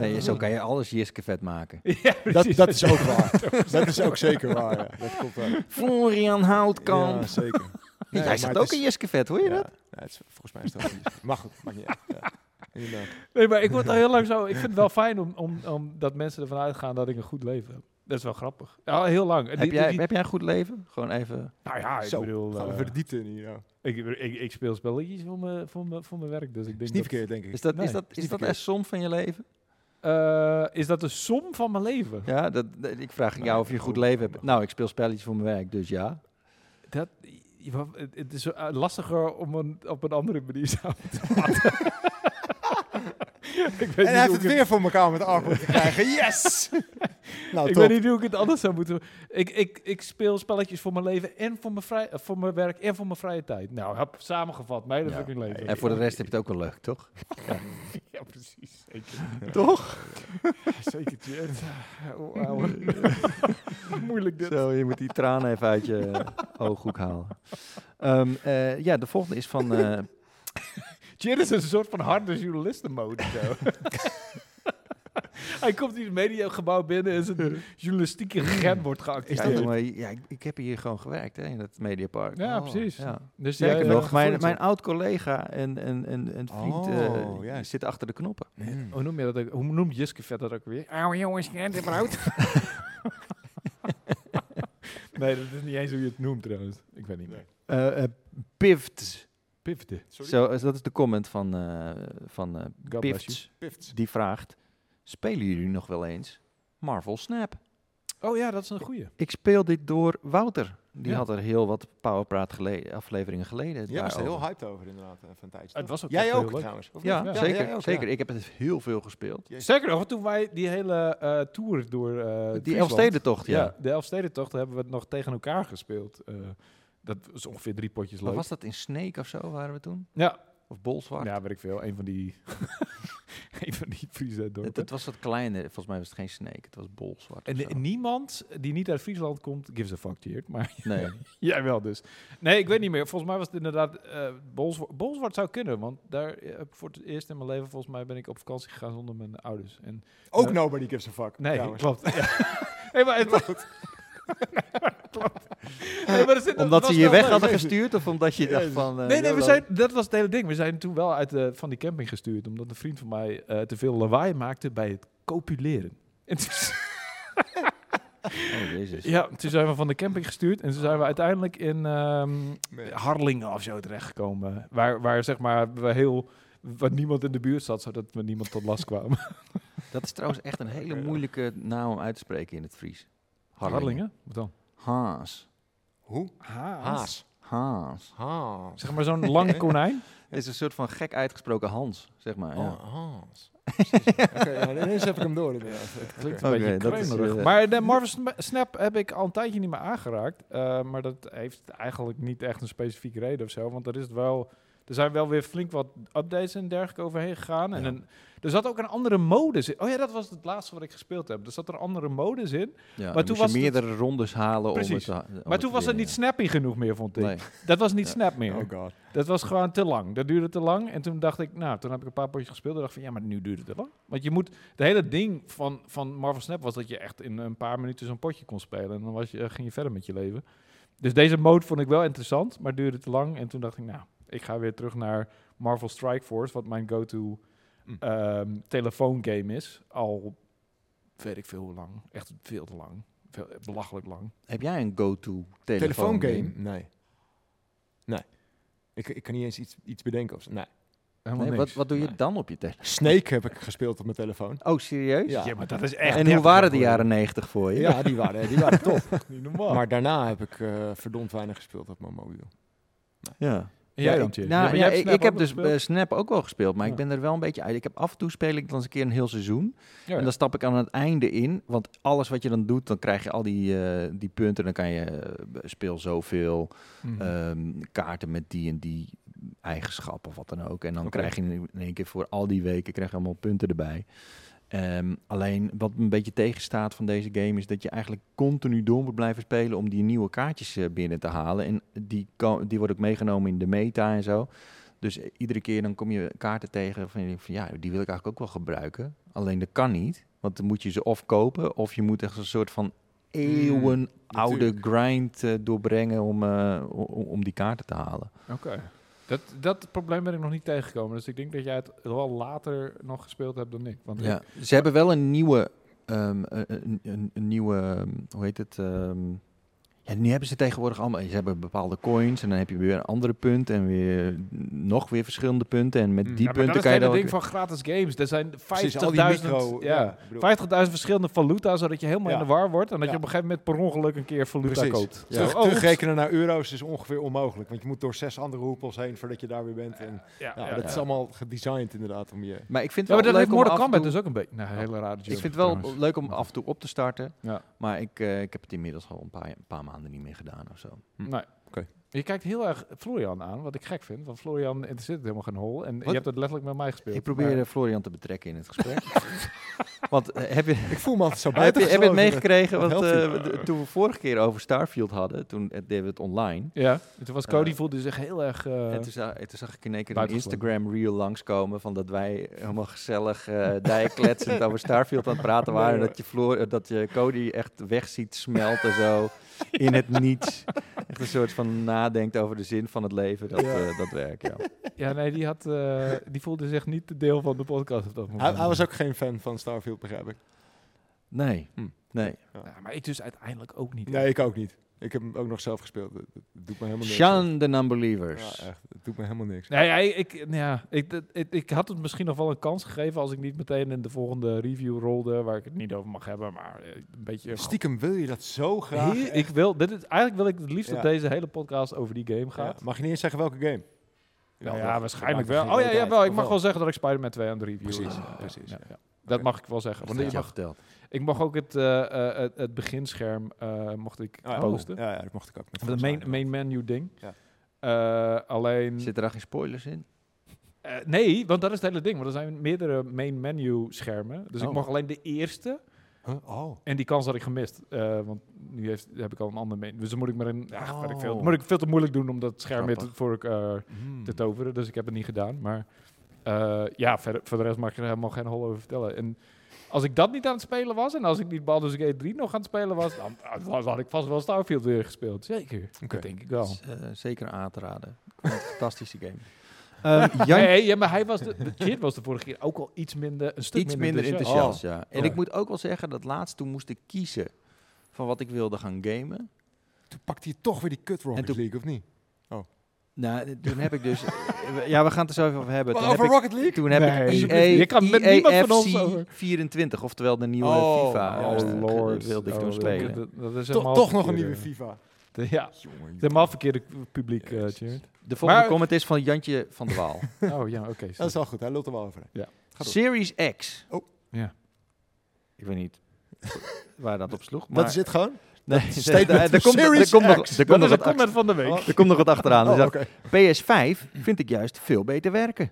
Nee, zo kan je alles Jiske vet maken. Ja, Dat, precies. dat is ook waar. dat is ook zeker waar. Ja. Dat klopt wel. Florian Houtkamp. Ja, zeker. Nee, Jij maar zat het ook is- in Jiske vet, hoor je Ja. dat? Nee, het is, volgens mij is dat niet. Mag goed, maakt niet uit. Ja. Inderdaad. Nee, maar ik word al heel lang zo. Ik vind het wel fijn om, om, om dat mensen ervan uitgaan dat ik een goed leven heb. Dat is wel grappig. Ja, al heel lang. En Heb die- jij, die- heb jij een goed leven? Gewoon even... nou ja, ik Zo, bedoel. gaan we eh, voor de diepte in hier. nou. ik, ik, ik speel spelletjes voor mijn, voor mijn, voor mijn werk. Dus ik denk Is niet dat- verkeerd, denk ik. Is dat, Nee, is dat, is is niet dat verkeerd. een som van je leven? Eh, is dat de som van mijn leven? Ja, dat, dat- ik vraag aan jou Nee, of je een goed goed, leven maar hebt. goed. Nou, ik speel spelletjes voor mijn werk, dus ja. Dat, je- wa- het- het is eh, lastiger om een, op een andere manier samen te vatten. ik En hij heeft weet, niet hoe, het ik het, weer voor elkaar met Arco te krijgen. Yes! nou, ik weet niet hoe ik het anders zou moeten doen. Ik, ik, ik speel spelletjes voor mijn leven en voor mijn, vrij, eh, voor mijn werk en voor mijn vrije tijd. Nou, heb samengevat, mij dat Ja. fucking leven. En voor de rest heb je het ook wel leuk, toch? Ja, precies. Zeker. Toch? Zeker, Tjeerd. Oh, ouwe. Moeilijk dit. Zo, je moet die tranen even uit je eh, ooghoek halen. Ehm, eh, ja, de volgende is van... eh, Tjeerd is een soort van harde journalistenmode. Zo. Hij komt in het mediagebouw binnen en zijn journalistieke gem ja, wordt geactiveerd. jongen, ja, ik, ik heb hier gewoon gewerkt, hè, in dat Mediapark. Ja, Oh, precies. Ja. Dus Zeker jij, nog, mijn, eh, gevoelens mijn op. oud-collega en, en, en, en vriend eh, Oh, die juist. zit achter de knoppen. Mm. Hoe noem je dat ook? Hoe noemt Jiske vet dat ook weer? Auw jongens, net de brood. nee, dat is niet eens hoe je het noemt trouwens. Ik weet niet meer. Eh, eh, Pivt. Pifte. Sorry? Zo, eh, dat is de comment van, eh van eh, God bless Pivts. Pifts. die vraagt: Spelen jullie nog wel eens Marvel Snap? Oh ja, dat is een goeie. Ik speel dit door Wouter. Die Ja. had er heel wat Powerpraat gele- afleveringen geleden. Jij was er daarover. heel hyped over inderdaad, eh, van een tijdje. Het was ook echt Jij heel ook leuk. trouwens. of Ja, niet? zeker. jij ook, zeker. ja. Ik heb het heel veel gespeeld. Sterker nog, toen wij die hele eh, tour door eh Die Friesland- Elfstedentocht, ja. Ja, de Elfstedentocht hebben we het nog tegen elkaar gespeeld. Eh, dat is ongeveer drie potjes Maar leuk. was dat in Sneek of zo waren we toen? Ja, Of Bolzwart? ja, weet ik veel. Een van die, een van die Friese dorpen. Het, het was wat kleiner. Volgens mij was het geen Sneek. Het was Bolzwart. En of eh, zo. niemand die niet uit Friesland komt, gives a fuck, Tjeerd. Maar Nee. jij wel dus. Nee, ik weet niet meer. Volgens mij was het inderdaad... eh Bolsward, Bolsward zou kunnen, want daar eh, heb ik voor het eerst in mijn leven... volgens mij ben ik op vakantie gegaan zonder mijn ouders. En, Ook Eh, nobody gives a fuck. nee, trouwens. klopt. Ja. nee, maar het klopt. Nee, maar er zit- Omdat was ze je wel weg leuk. hadden gestuurd of omdat je dacht Jezus. van... eh, Nee, nee, joh, we dan- zijn, dat was het hele ding. We zijn toen wel uit de, van die camping gestuurd, omdat een vriend van mij eh, te veel lawaai maakte bij het copuleren. En toen- Oh, jezus. ja, toen zijn we van de camping gestuurd en toen zijn we uiteindelijk in ehm Harlingen of zo terechtgekomen. Waar, waar zeg maar we heel, waar niemand in de buurt zat, zodat we niemand tot last kwamen. Dat is trouwens echt een hele moeilijke naam om uit te spreken in het Fries. Harlingen? Wat dan? Haas. Hoe? Haas. Haas. Haas. Zeg maar zo'n lang konijn. Het is een soort van gek uitgesproken Hans, zeg maar. ja. Oh, Haas. Oké, ja, ineens heb ik hem door. inderdaad. Het klinkt Oké, beetje dat is, kreunerig. eh, Maar de Marvel Sna- Snap heb ik al een tijdje niet meer aangeraakt. Eh, maar dat heeft eigenlijk niet echt een specifieke reden of zo. Want er, is het wel, er zijn wel weer flink wat updates en dergelijke overheen gegaan. En Ja. een, er zat ook een andere modus in. Oh ja, dat was het laatste wat ik gespeeld heb. Er zat een andere modus in. ja, dan toen moest je was het- meerdere rondes halen Precies. om het te ha- om Maar het toen te was het winnen, niet snappy genoeg meer, vond ik. ja. Nee. Dat was niet Ja. snap meer. Oh god. Dat was gewoon te lang. Dat duurde te lang. En toen dacht ik, nou, toen heb ik een paar potjes gespeeld. En dacht ik van, ja, maar nu duurt het te lang. Want je moet, het hele ding van, van Marvel Snap was dat je echt in een paar minuten zo'n potje kon spelen. En dan was je, eh, ging je verder met je leven. Dus deze mode vond ik wel interessant, maar duurde te lang. En toen dacht ik, nou, ik ga weer terug naar Marvel Strike Force, wat mijn go-to Hm. ehm, telefoongame is. Al weet ik veel hoe lang. Echt veel te lang. Veel, belachelijk lang. Heb jij een go-to telefoon Telefoongame? Nee. Nee. Ik, ik kan niet eens iets, iets bedenken. Of, zo. nee. Helemaal Nee, wat, niks. wat doe je Nee. dan op je telefoon? Snake heb ik gespeeld op mijn telefoon. Oh, serieus? Ja, Ja, maar dat is echt... en hoe dertig waren de jaar jaren negentig voor je? Ja, die waren, die waren top. geleden. Niet normaal. Maar daarna heb ik eh, verdomd weinig gespeeld op mijn mobiel. Ja. En Ja, jij ik- dan, Thierry? Nou, Ja, maar ja, jij hebt ik, Snap ik heb ook nog dus eh, gespeeld? Snap ook wel gespeeld, maar Ja. ik ben er wel een beetje uit. Ik heb af en toe speel ik dan eens een keer een heel seizoen. Ja, eh, En dan stap ik aan het einde in. Want alles wat je dan doet, dan krijg je al die, eh, die punten. Dan kan je eh, speel zoveel Mhm. ehm, kaarten met die en die eigenschappen of wat dan ook. En dan Oké. krijg je in in één keer voor al die weken krijg je allemaal punten erbij. Ehm, alleen wat me een beetje tegenstaat van deze game is dat je eigenlijk continu door moet blijven spelen om die nieuwe kaartjes eh, binnen te halen. En die, ko- die wordt ook meegenomen in de meta en zo. Dus eh, iedere keer dan kom je kaarten tegen van, je denkt van ja, die wil ik eigenlijk ook wel gebruiken. Alleen dat kan niet, want dan moet je ze of kopen of je moet echt een soort van eeuwen oude natuurlijk. grind eh, doorbrengen om, eh, o- o- om die kaarten te halen. Oké. Dat, dat probleem ben ik nog niet tegengekomen. Dus ik denk dat jij het wel later nog gespeeld hebt dan ik. Want Ja. Ze hebben wel een nieuwe, ehm, een, een- een, een nieuwe, ehm, hoe heet het? ehm, ja, nu hebben ze tegenwoordig allemaal, ze hebben bepaalde coins en dan heb je weer een andere punt en weer nog weer verschillende punten en met die Mm. Mhm. Hmm. Ja, maar punten dat kan is je het dan hele ook ding van gratis games. Er zijn 50.000 Precies, al die micro... ja, ik bedoel- 50.000 verschillende valuta, zodat je helemaal Ja. in de war wordt. En dat Ja. je op een gegeven moment per ongeluk een keer valuta Precies. koopt. Ja. Terug, Zo, oh, oeps. terugrekenen naar euro's is ongeveer onmogelijk. Want je moet door zes andere hoepels heen voordat je daar weer bent. En, Ja, ja, ja. dat ja. is allemaal gedesigned inderdaad om je... Maar ik vind Ja, het wel maar dat heeft leuk om Mortal af en Kombat toe- dus ook een beetje... Nou, een hele rare joke Ik vind het wel trouwens. leuk om af en toe op te starten. Ja. Maar ik, eh, ik heb het inmiddels al een paar, een paar maanden niet meer gedaan of zo. Nee. Oké. Je kijkt heel erg Florian aan, wat ik gek vind. Want Florian interesseert het helemaal geen hol. En je hebt het letterlijk met mij gespeeld. Ik probeer eh, Florian te betrekken in het gesprek. Want eh, heb je, Ik voel me altijd zo heb je, heb je het buitengesloten. meegekregen? Wat Want helpt eh, we- toen we vorige keer over Starfield hadden, toen eh, deden we het online. Ja, en toen was Cody Eh, voelde zich heel erg... eh, en toen, za- en toen zag ik in één keer een buitengesloten. Instagram reel langskomen van dat wij helemaal gezellig eh dijkletsend over Starfield aan het praten waren. en dat, je Floor, eh, dat je Cody echt weg ziet smelten zo in het niets. Echt een soort van nadenkt over de zin van het leven, dat, Ja. eh, dat werk. Ja. Ja, nee, die, had, eh, die voelde zich niet de deel van de podcast op dat moment. Hij, hij was ook geen fan van Starfield, begrijp ik. Nee. Hm. Nee. Ja, maar ik dus uiteindelijk ook niet. Nee, ik ook niet. Ik heb hem ook nog zelf gespeeld. Het het doet me helemaal niks. Shan the Ja, Unbelievers. echt. Het doet me helemaal niks. Nee, ja, ik, nou ja, ik, dat- ik, ik had het misschien nog wel een kans gegeven als ik niet meteen in de volgende review rolde, waar ik het niet over mag hebben, maar eh, een beetje... Stiekem wil je dat zo graag. Hier- echt. ik wil, dit is, eigenlijk wil ik het liefst dat Ja. deze hele podcast over die game gaat. Ja, Mag je niet eens zeggen welke game? Nou Ja, ja, dat- waarschijnlijk dat maakt er wel. Oh geen ja, reet ja uit, wel. ik of mag wel? wel zeggen dat ik Spider-Man 2 aan de review Precies, Ja, precies, ja, ja. ja. Oké. Dat mag ik wel zeggen. Dat Want ik, had je al mag, Hm. verteld. ik mag ook het, eh, eh, het, het beginscherm eh, mocht ik Oh, ja. posten. Ja, ja, dat mocht ik ook. met Of het Frans main, Leinemann. main menu ding. Ja. Eh, alleen, Zitten daar geen spoilers in? eh, nee, want dat is het hele ding. Want er zijn meerdere main menu schermen. Dus Oh. ik mag alleen de eerste. Huh? Oh. En die kans had ik gemist. Eh, want nu heeft, heb ik al een ander main. Dus dan moet ik maar een... Ja, weet ik veel, Oh. moet ik veel te moeilijk doen om dat scherm weer te- Grappig. voor ik... eh, Hm. te toveren. Dus ik heb het niet gedaan. Maar eh, ja, verder, voor de rest mag ik er helemaal geen hol over vertellen. En als ik dat niet aan het spelen was... en als ik niet Baldur's Gate 3 nog aan het spelen was... dan, dan had ik vast wel Starfield weer gespeeld. Zeker. Oké. Dat denk ik wel. Dat is, eh, zeker aan te raden. Een fantastische game. Ehm, Jan, Nee, ja, maar hij was de, de kid was de vorige keer ook al iets minder... een stuk iets minder enthousiast, ja. En Oh. ik moet ook wel zeggen dat laatst toen moest ik kiezen van wat ik wilde gaan gamen. Toen pakt hij toch weer die kut Rocket En toen- League, of niet? Nou, toen heb ik dus... ja, we gaan het er zo even over hebben. Toen Maar heb over ik, Rocket League? Toen heb Nee. ik E EA, Je kan met niemand van ons EAFC over. 24, oftewel de nieuwe Oh, FIFA. ja, eh, Oh, dat lord. wilde ik Oh, toen spelen. Dat, dat is To- helemaal toch nog een verkeerde- nieuwe FIFA. Ja, Jongen, het jongen. is helemaal verkeerde publiek, eh Jezus. Tjeerd. De volgende Maar- comment is van Jantje van der Waal. Oh ja, oké. Dat is wel goed, hij lult er wel over. hè. Ga door. Series X. Oh. Ja. Ik weet niet waar dat op sloeg. Maar Dat is het gewoon? Nee, statement er, van komt, er, Series komt nog, X. er, komt Dat nog is een wat achter- comment van de week. er komt nog wat achteraan. Oh, Dus dat- oké. PS5 vind ik juist veel beter werken.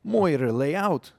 Mooiere layout.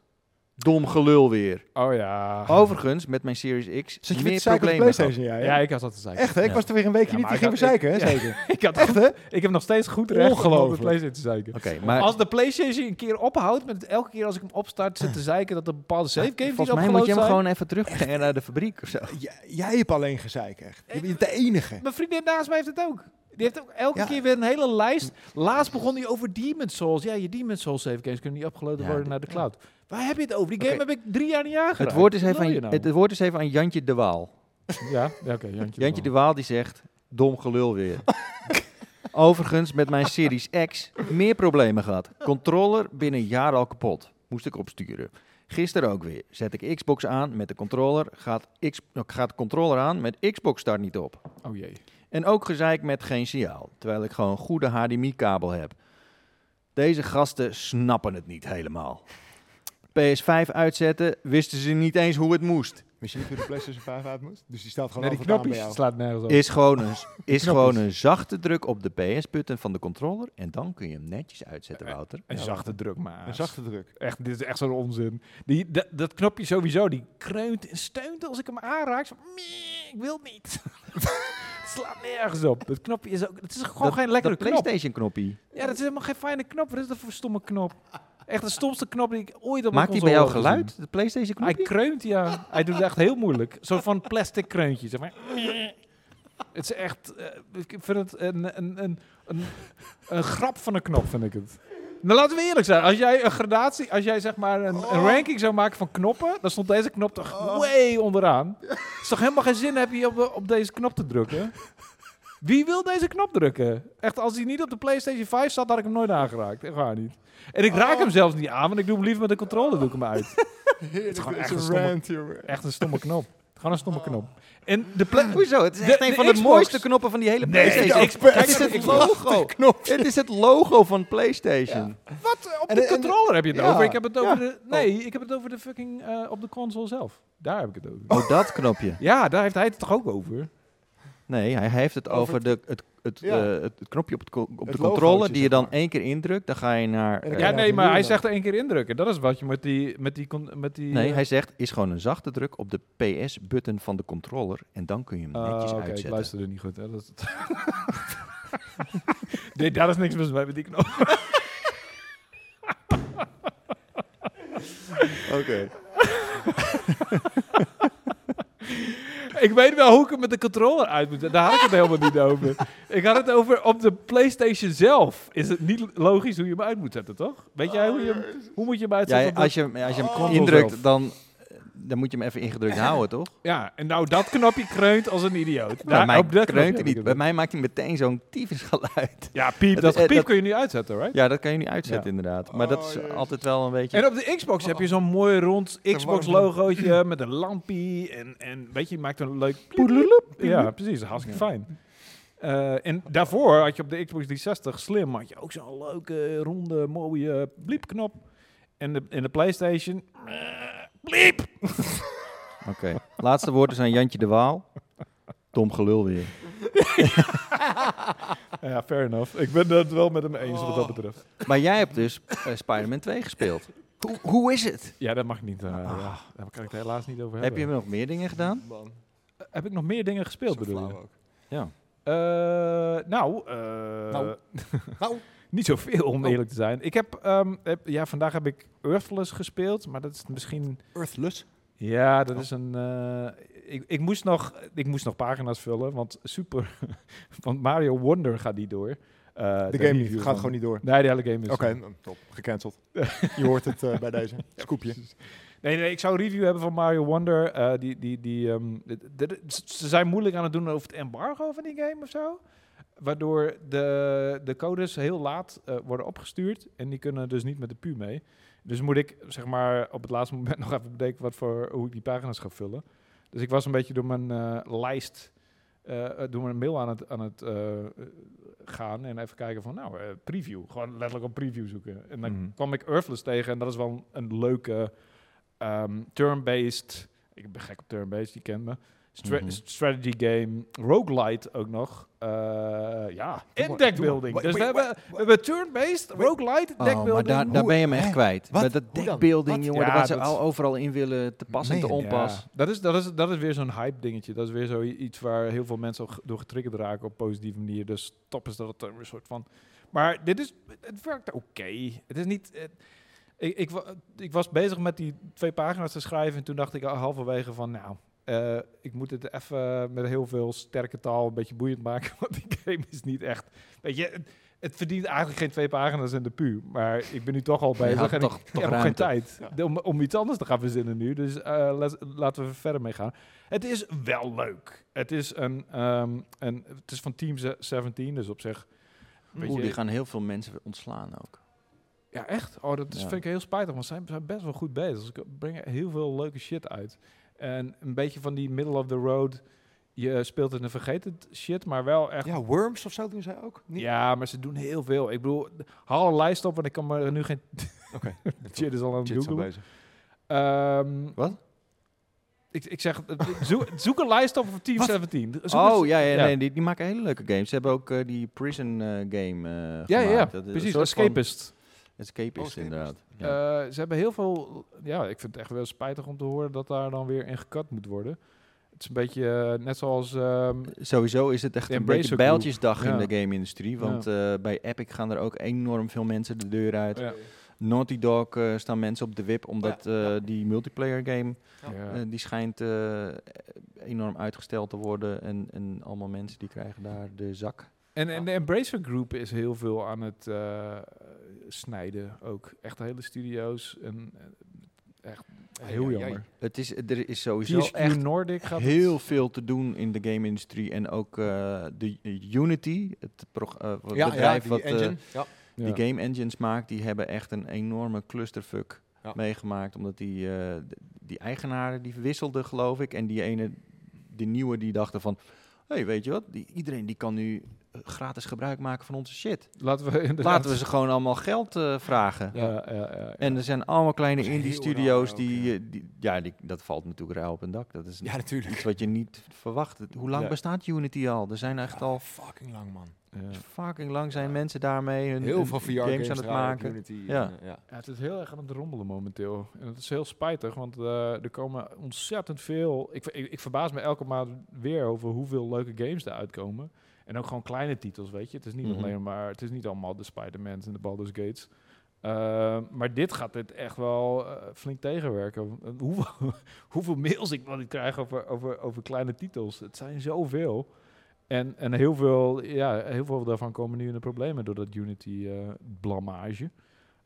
Dom gelul weer. Oh ja. Overigens, met mijn Series X Ah. Zit je weer meer te zeiken op de problemen gehad. PlayStation? Ja, hè? Ja, ik had dat te zeggen. Echt, hè? Ik Ja. was er weer een weekje Ja, niet, die maar ging ik verzeiken, hè? had- ik- Zeker. Ik had Echt, hè? Ik heb nog steeds goed recht om op de Ongelooflijk. PlayStation te zeiken. Oké, maar Als de PlayStation een keer ophoudt, met elke keer als ik hem opstart, zit te zeiken dat er bepaalde save games niet volgens mij moet je opgeload hem zijn. gewoon even terugbrengen naar de fabriek of zo. J- jij hebt alleen gezeik, echt. Je bent de enige. Mijn vriendin naast mij heeft het ook. Die heeft ook elke Ja. keer weer een hele lijst. Laatst begon hij over Demon's Souls. Ja, je Demon's Souls save games kunnen niet opgeload Ja, worden dit- naar de cloud. Waar heb je het over? Die game Oké. heb ik drie jaar niet aangeraakt. Het woord, is Wat even wil je aan, nou? het woord is even aan Jantje de Waal. Ja, ja, oké. Jantje, Jantje de de Waal die zegt, dom gelul weer. Overigens, met mijn Series X meer problemen gehad. Controller binnen een jaar al kapot. Moest ik opsturen. Gisteren ook weer. Zet ik Xbox aan met de controller. Gaat, X, nou, gaat de controller aan met Xbox start niet op. Waal. Oh jee. En ook gezeik met geen signaal, terwijl ik gewoon een goede HDMI-kabel heb. Deze gasten snappen het niet helemaal. PS5 uitzetten, wisten ze niet eens hoe het moest. Misschien niet hoe de PlayStation 5 uit moest. Dus die staat gewoon Nee, die altijd aan bij knopjes jou. slaat nergens op. Is gewoon een, is gewoon een zachte druk op de PS-button van de controller en dan kun je hem netjes uitzetten, Wouter. Een Ja. zachte druk, maar. Een zachte druk. Echt, dit is echt zo'n onzin. Die, dat, dat knopje sowieso, die kreunt en steunt als ik hem aanraak. Zo, "Mie, ik wil niet. het slaat nergens op. Dat knopje is ook, het is gewoon Dat- geen lekkere dat knop. PlayStation-knoppie. Ja, dat is helemaal geen fijne knop. Wat is dat voor stomme knop? Echt de stomste knop die ik ooit op mijn Maakt die bij console jou heb gezien. geluid, de Hij PlayStation-knoppie? kreunt, ja. Hij doet het echt heel moeilijk. Zo van plastic kreuntje, zeg maar. Het is echt... eh, ik vind het een, een, een, een, een grap van een knop, vind ik het. Nou, laten we eerlijk zijn. Als jij een gradatie... Als jij zeg maar een, een ranking zou maken van knoppen... dan stond deze knop toch way onderaan. Het is toch helemaal geen zin heb je op, op deze knop te drukken? Wie wil deze knop drukken? Echt, als hij niet op de PlayStation 5 zat, had ik hem nooit aangeraakt. Echt waar niet. En ik raak hem zelfs niet aan, want ik doe hem liever met de controller doe ik hem uit. Het gewoon is echt een een stomme- rant, jongen. Echt een stomme knop. Gewoon een stomme knop. En de pla- Hoezo? Het is De- echt een de van de Xbox. mooiste knoppen van die hele Nee, PlayStation. de Xbox. Het is het logo. Het is het logo van PlayStation. Wat? Op En- de en- controller heb je het ja, over? Ik heb het over ja. de... Nee, ik heb het over de fucking... eh, op de console zelf. Daar heb ik het over. Oh, dat knopje. Ja, daar heeft hij het toch ook over? Nee, hij heeft het over, Over de, het, het, Ja. eh, het, het knopje op, het, co- op Het de controller logootje, die je zeg dan maar. één keer indrukt. Dan ga je naar... En eh, dan Ja, Ja, dat nee, bedoel maar hij je zegt er één keer indrukken. Dat is wat je met die... Met die, con- met die nee, eh, hij zegt, is gewoon een zachte druk op de PS-button van de controller. En dan kun je hem Ah, netjes oké, ik uitzetten. luisterde niet goed. Hè? Dat is het. nee, daar is niks mis mee met die knop. Oké. ik weet wel hoe ik hem met de controller uit moet. Daar had ik het helemaal niet over. Ik had het over op de PlayStation zelf. Is het niet logisch hoe je hem uit moet zetten, toch? Weet jij hoe je hem, hoe moet je hem Ja, uitzetten? op de- als je, hem- als je hem Oh. indrukt, dan, eh, dan moet je hem even ingedrukt houden, toch? Ja, en nou dat knopje kreunt als een idioot. Bij mij op dat kreunt hij knopje niet. heb Bij ik mij maakt hij meteen zo'n tyfusgeluid. hem. Ja, piep. Het is- Dat eh, piep dat- kun je nu uitzetten, right? Ja, dat kan je niet uitzetten inderdaad. Maar dat Oh, is jezus. altijd wel een beetje... En op de Xbox heb je zo'n mooi rond Xbox-logootje met een lampie. En, en weet je, je maakt een leuk... Ja, precies. Hartstikke fijn. Eh, en daarvoor had je op de Xbox 360 slim had je ook zo'n leuke, ronde, mooie bliepknop. En de, en de PlayStation... eh, bliep! Oké. Laatste woorden zijn Jantje de Waal. Tom Gelul weer. Ja, fair enough. Ik ben het wel met hem eens wat dat betreft. Maar jij hebt dus eh, Spider-Man 2 gespeeld. Hoe, hoe is het? Ja, dat mag niet. eh, ja, daar kan ik het helaas niet over Heb hebben. je nog meer dingen gedaan? Man, heb ik nog meer dingen gespeeld, zo bedoel je? flauw ook. Ja. Eh, nou, eh, Nou. Nou, Oh. niet zoveel om eerlijk te zijn. Ik heb, ehm, heb- ja, vandaag heb ik Earthless gespeeld, maar dat is misschien, Earthless. ja, Oh. dat is een, eh, ik, ik moest nog, ik moest nog pagina's vullen, want super, want Mario Wonder gaat niet door. Eh, De game review gaat van- gewoon niet door. Nee, de hele game is. Oké, nou, top. Gecanceld. Je hoort het eh, bij deze. Scoopje. Nee, nee, ik zou een review hebben van Mario Wonder. eh, die, die, die, ehm, d- d- d- ze zijn moeilijk aan het doen over het embargo van die game of zo. Waardoor de, de codes heel laat eh, worden opgestuurd. En die kunnen dus niet met de PU mee. Dus moet ik zeg maar op het laatste moment nog even bedenken wat voor, hoe ik die pagina's ga vullen. Dus ik was een beetje door mijn eh, lijst, eh, eh, door mijn mail aan het, aan het eh, eh, gaan. En even kijken van nou, eh, preview. Gewoon letterlijk op preview zoeken. En dan Mhm. kwam ik Earthless tegen. En dat is wel een, een leuke ehm turn-based. Ik ben gek op turn-based, die kent me. Stra- Mhm. Strategy game, roguelite ook nog. Eh, ja, en maar, deckbuilding. doe maar. Dus we Wait, hebben, we hebben turn-based, roguelite, Oh, maar deckbuilding. daar, daar Hoe- ben je me echt hè? kwijt. Wat? Met dat Hoe dan? deckbuilding, Wat? jongen. Ja, dat ze dat- al overal in willen, te pas en te Man. onpas. Ja, dat, is, dat, is, dat is weer zo'n hype dingetje. Dat is weer zoiets waar heel veel mensen al ge- door getriggerd raken op positieve manier. Dus top is dat het een soort van... Maar dit is, het werkt oké. Het is niet... het- ik, ik, wa- ik was bezig met die twee pagina's te schrijven en toen dacht ik al halverwege van nou... eh, ik moet het even met heel veel sterke taal een beetje boeiend maken, want die game is niet echt... Weet je, het, het verdient eigenlijk geen twee pagina's in de pu, maar ik ben nu toch al Je bezig had en toch- ik, toch heb ook geen ruimte. tijd om, om iets anders te gaan verzinnen nu. Dus eh, let- laten we verder mee gaan. Het is wel leuk. Het is, een, ehm, een, het is van Team ze- 17, dus op zich... weet Oeh, je- die gaan heel veel mensen ontslaan ook. ja, echt? Oh, dat is, Ja. vind ik heel spijtig, want zij zijn best wel goed bezig. Ze brengen heel veel leuke shit uit. En een beetje van die middle of the road... Je speelt het een vergeten shit, maar wel echt... Ja, Worms of zo doen zij ook? Niet? Ja, maar ze doen heel veel. Ik bedoel, haal een lijst op, want ik kan me nu geen... Oké. shit is al aan het Shit, zo googlen. bezig. Ehm, Wat? Ik, ik zeg, eh, zoek, zoek een lijst op voor Team 17. Zoek Oh, eens- ja, ja, ja. Nee, die, die maken hele leuke games. Ze hebben ook eh, die prison eh, game eh ja, ja, ja, gemaakt. Dat is een precies. soort van- Escapist. Escape is Oh, escapist. inderdaad. Ja. Eh, ze hebben heel veel... Ja, ik vind het echt wel spijtig om te horen dat daar dan weer in gekat moet worden. Het is een beetje eh, net zoals... ehm, Sowieso is het echt de een Embracer beetje Group. bijltjesdag Ja. in de game-industrie. Want eh, bij Epic gaan er ook enorm veel mensen de deur uit. ja. Naughty Dog eh, staan mensen op de wip, omdat eh, die multiplayer game... Ja. eh, die schijnt eh, enorm uitgesteld te worden. En, en allemaal mensen die krijgen daar de zak. En, en de Embracer Group is heel veel aan het eh, snijden ook. Echt hele studio's. En, eh, echt heel Ai, ai, ai. jammer. Het is, er is sowieso THQ echt Nordic gaat het- Dus heel veel te doen in de game-industrie. En ook eh, de Unity, het prog- eh, wat- Ja, ja, bedrijf die wat eh, engine. Ja. Ja. die game engines maakt, die hebben echt een enorme clusterfuck Ja. meegemaakt. Omdat die, eh, d- die eigenaren, die wisselden geloof ik. En die ene, die nieuwe, die dachten van... Hé, hey, weet je wat? Die, iedereen die kan nu eh, gratis gebruik maken van onze shit. Laten we Dus inderdaad... Laten we ze gewoon allemaal geld eh, vragen. Ja, ja, ja, ja. En er zijn allemaal kleine Dat is heel indie-studio's raar die, ook, ja. eh, die... Ja, die, dat valt natuurlijk raar op een dak. Dat is ja, natuurlijk. iets wat je niet verwacht. Het- Hoe lang Ja. bestaat Unity al? Er zijn echt al fucking lang, man. Ja. fucking lang zijn mensen daarmee hun, Heel hun veel VR-games games aan het maken. Ja. eh, ja. Ja, het is heel erg aan het rommelen momenteel. En het is heel spijtig, want eh, er komen ontzettend veel... Ik, ik, ik verbaas me elke maand weer over hoeveel leuke games eruit komen. En ook gewoon kleine titels, weet je. Het is niet Mhm. alleen maar... Het is niet allemaal de Spider-Man's en de Baldur's Gates. Eh, maar dit gaat dit echt wel eh, flink tegenwerken. Eh, Hoeveel, hoeveel mails ik wel niet krijg over, over, over kleine titels. Het zijn zoveel. En, en heel, veel, ja, heel veel daarvan komen nu in de problemen door dat Unity-blamage.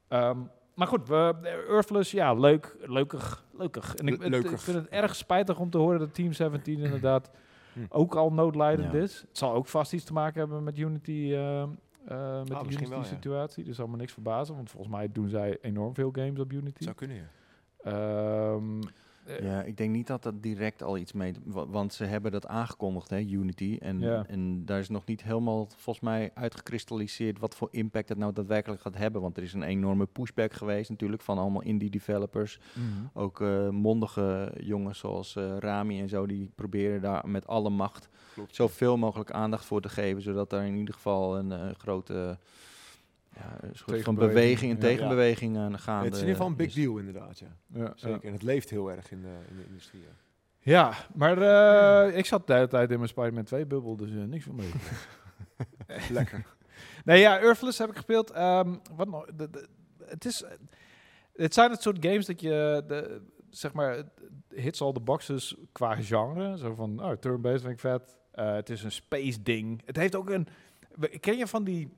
eh, Ehm, maar goed, we, eh, Earthless, ja, leuk, leukig, leukig. En ik, Le- het- leukig. ik vind het erg spijtig om te horen dat Team 17 inderdaad Hm. ook al noodlijdend Ja. is. Het zal ook vast iets te maken hebben met Unity, eh, eh, met Ah, de misschien wel, ja. Unity-situatie. Dus zal me niks verbazen, want volgens mij doen zij enorm veel games op Unity. Zou kunnen, ja. Ehm, eh, Ja, ik denk niet dat dat direct al iets mee... wa- Want ze hebben dat aangekondigd, hè, Unity. En, Ja. en daar is nog niet helemaal, volgens mij, uitgekristalliseerd... wat voor impact het nou daadwerkelijk gaat hebben. Want er is een enorme pushback geweest natuurlijk... van allemaal indie developers. Mhm. Ook eh, mondige jongens zoals eh, Rami en zo... die proberen daar met alle macht Klopt. zoveel mogelijk aandacht voor te geven... zodat daar in ieder geval een eh, grote... Ja, een soort van Tegenbeweging. beweging, een Ja. tegenbeweging aan gaande het is in ieder geval een big is. deal inderdaad, ja. ja, Zeker. En het leeft heel erg in de, in de industrie. ja. Ja, maar eh, ik zat de hele tijd in mijn Spider-Man 2-bubbel, dus eh, niks van mee. Lekker. Nee, ja, Earthless heb ik gespeeld. Ehm, wat nog? De- de- het, is, eh, het zijn het soort games dat je, de, zeg maar, het- het hits all the boxes qua genre. Zo van, oh, turn-based vind ik vet. Eh, het is een space ding. Het heeft ook een... we- Ken je van die,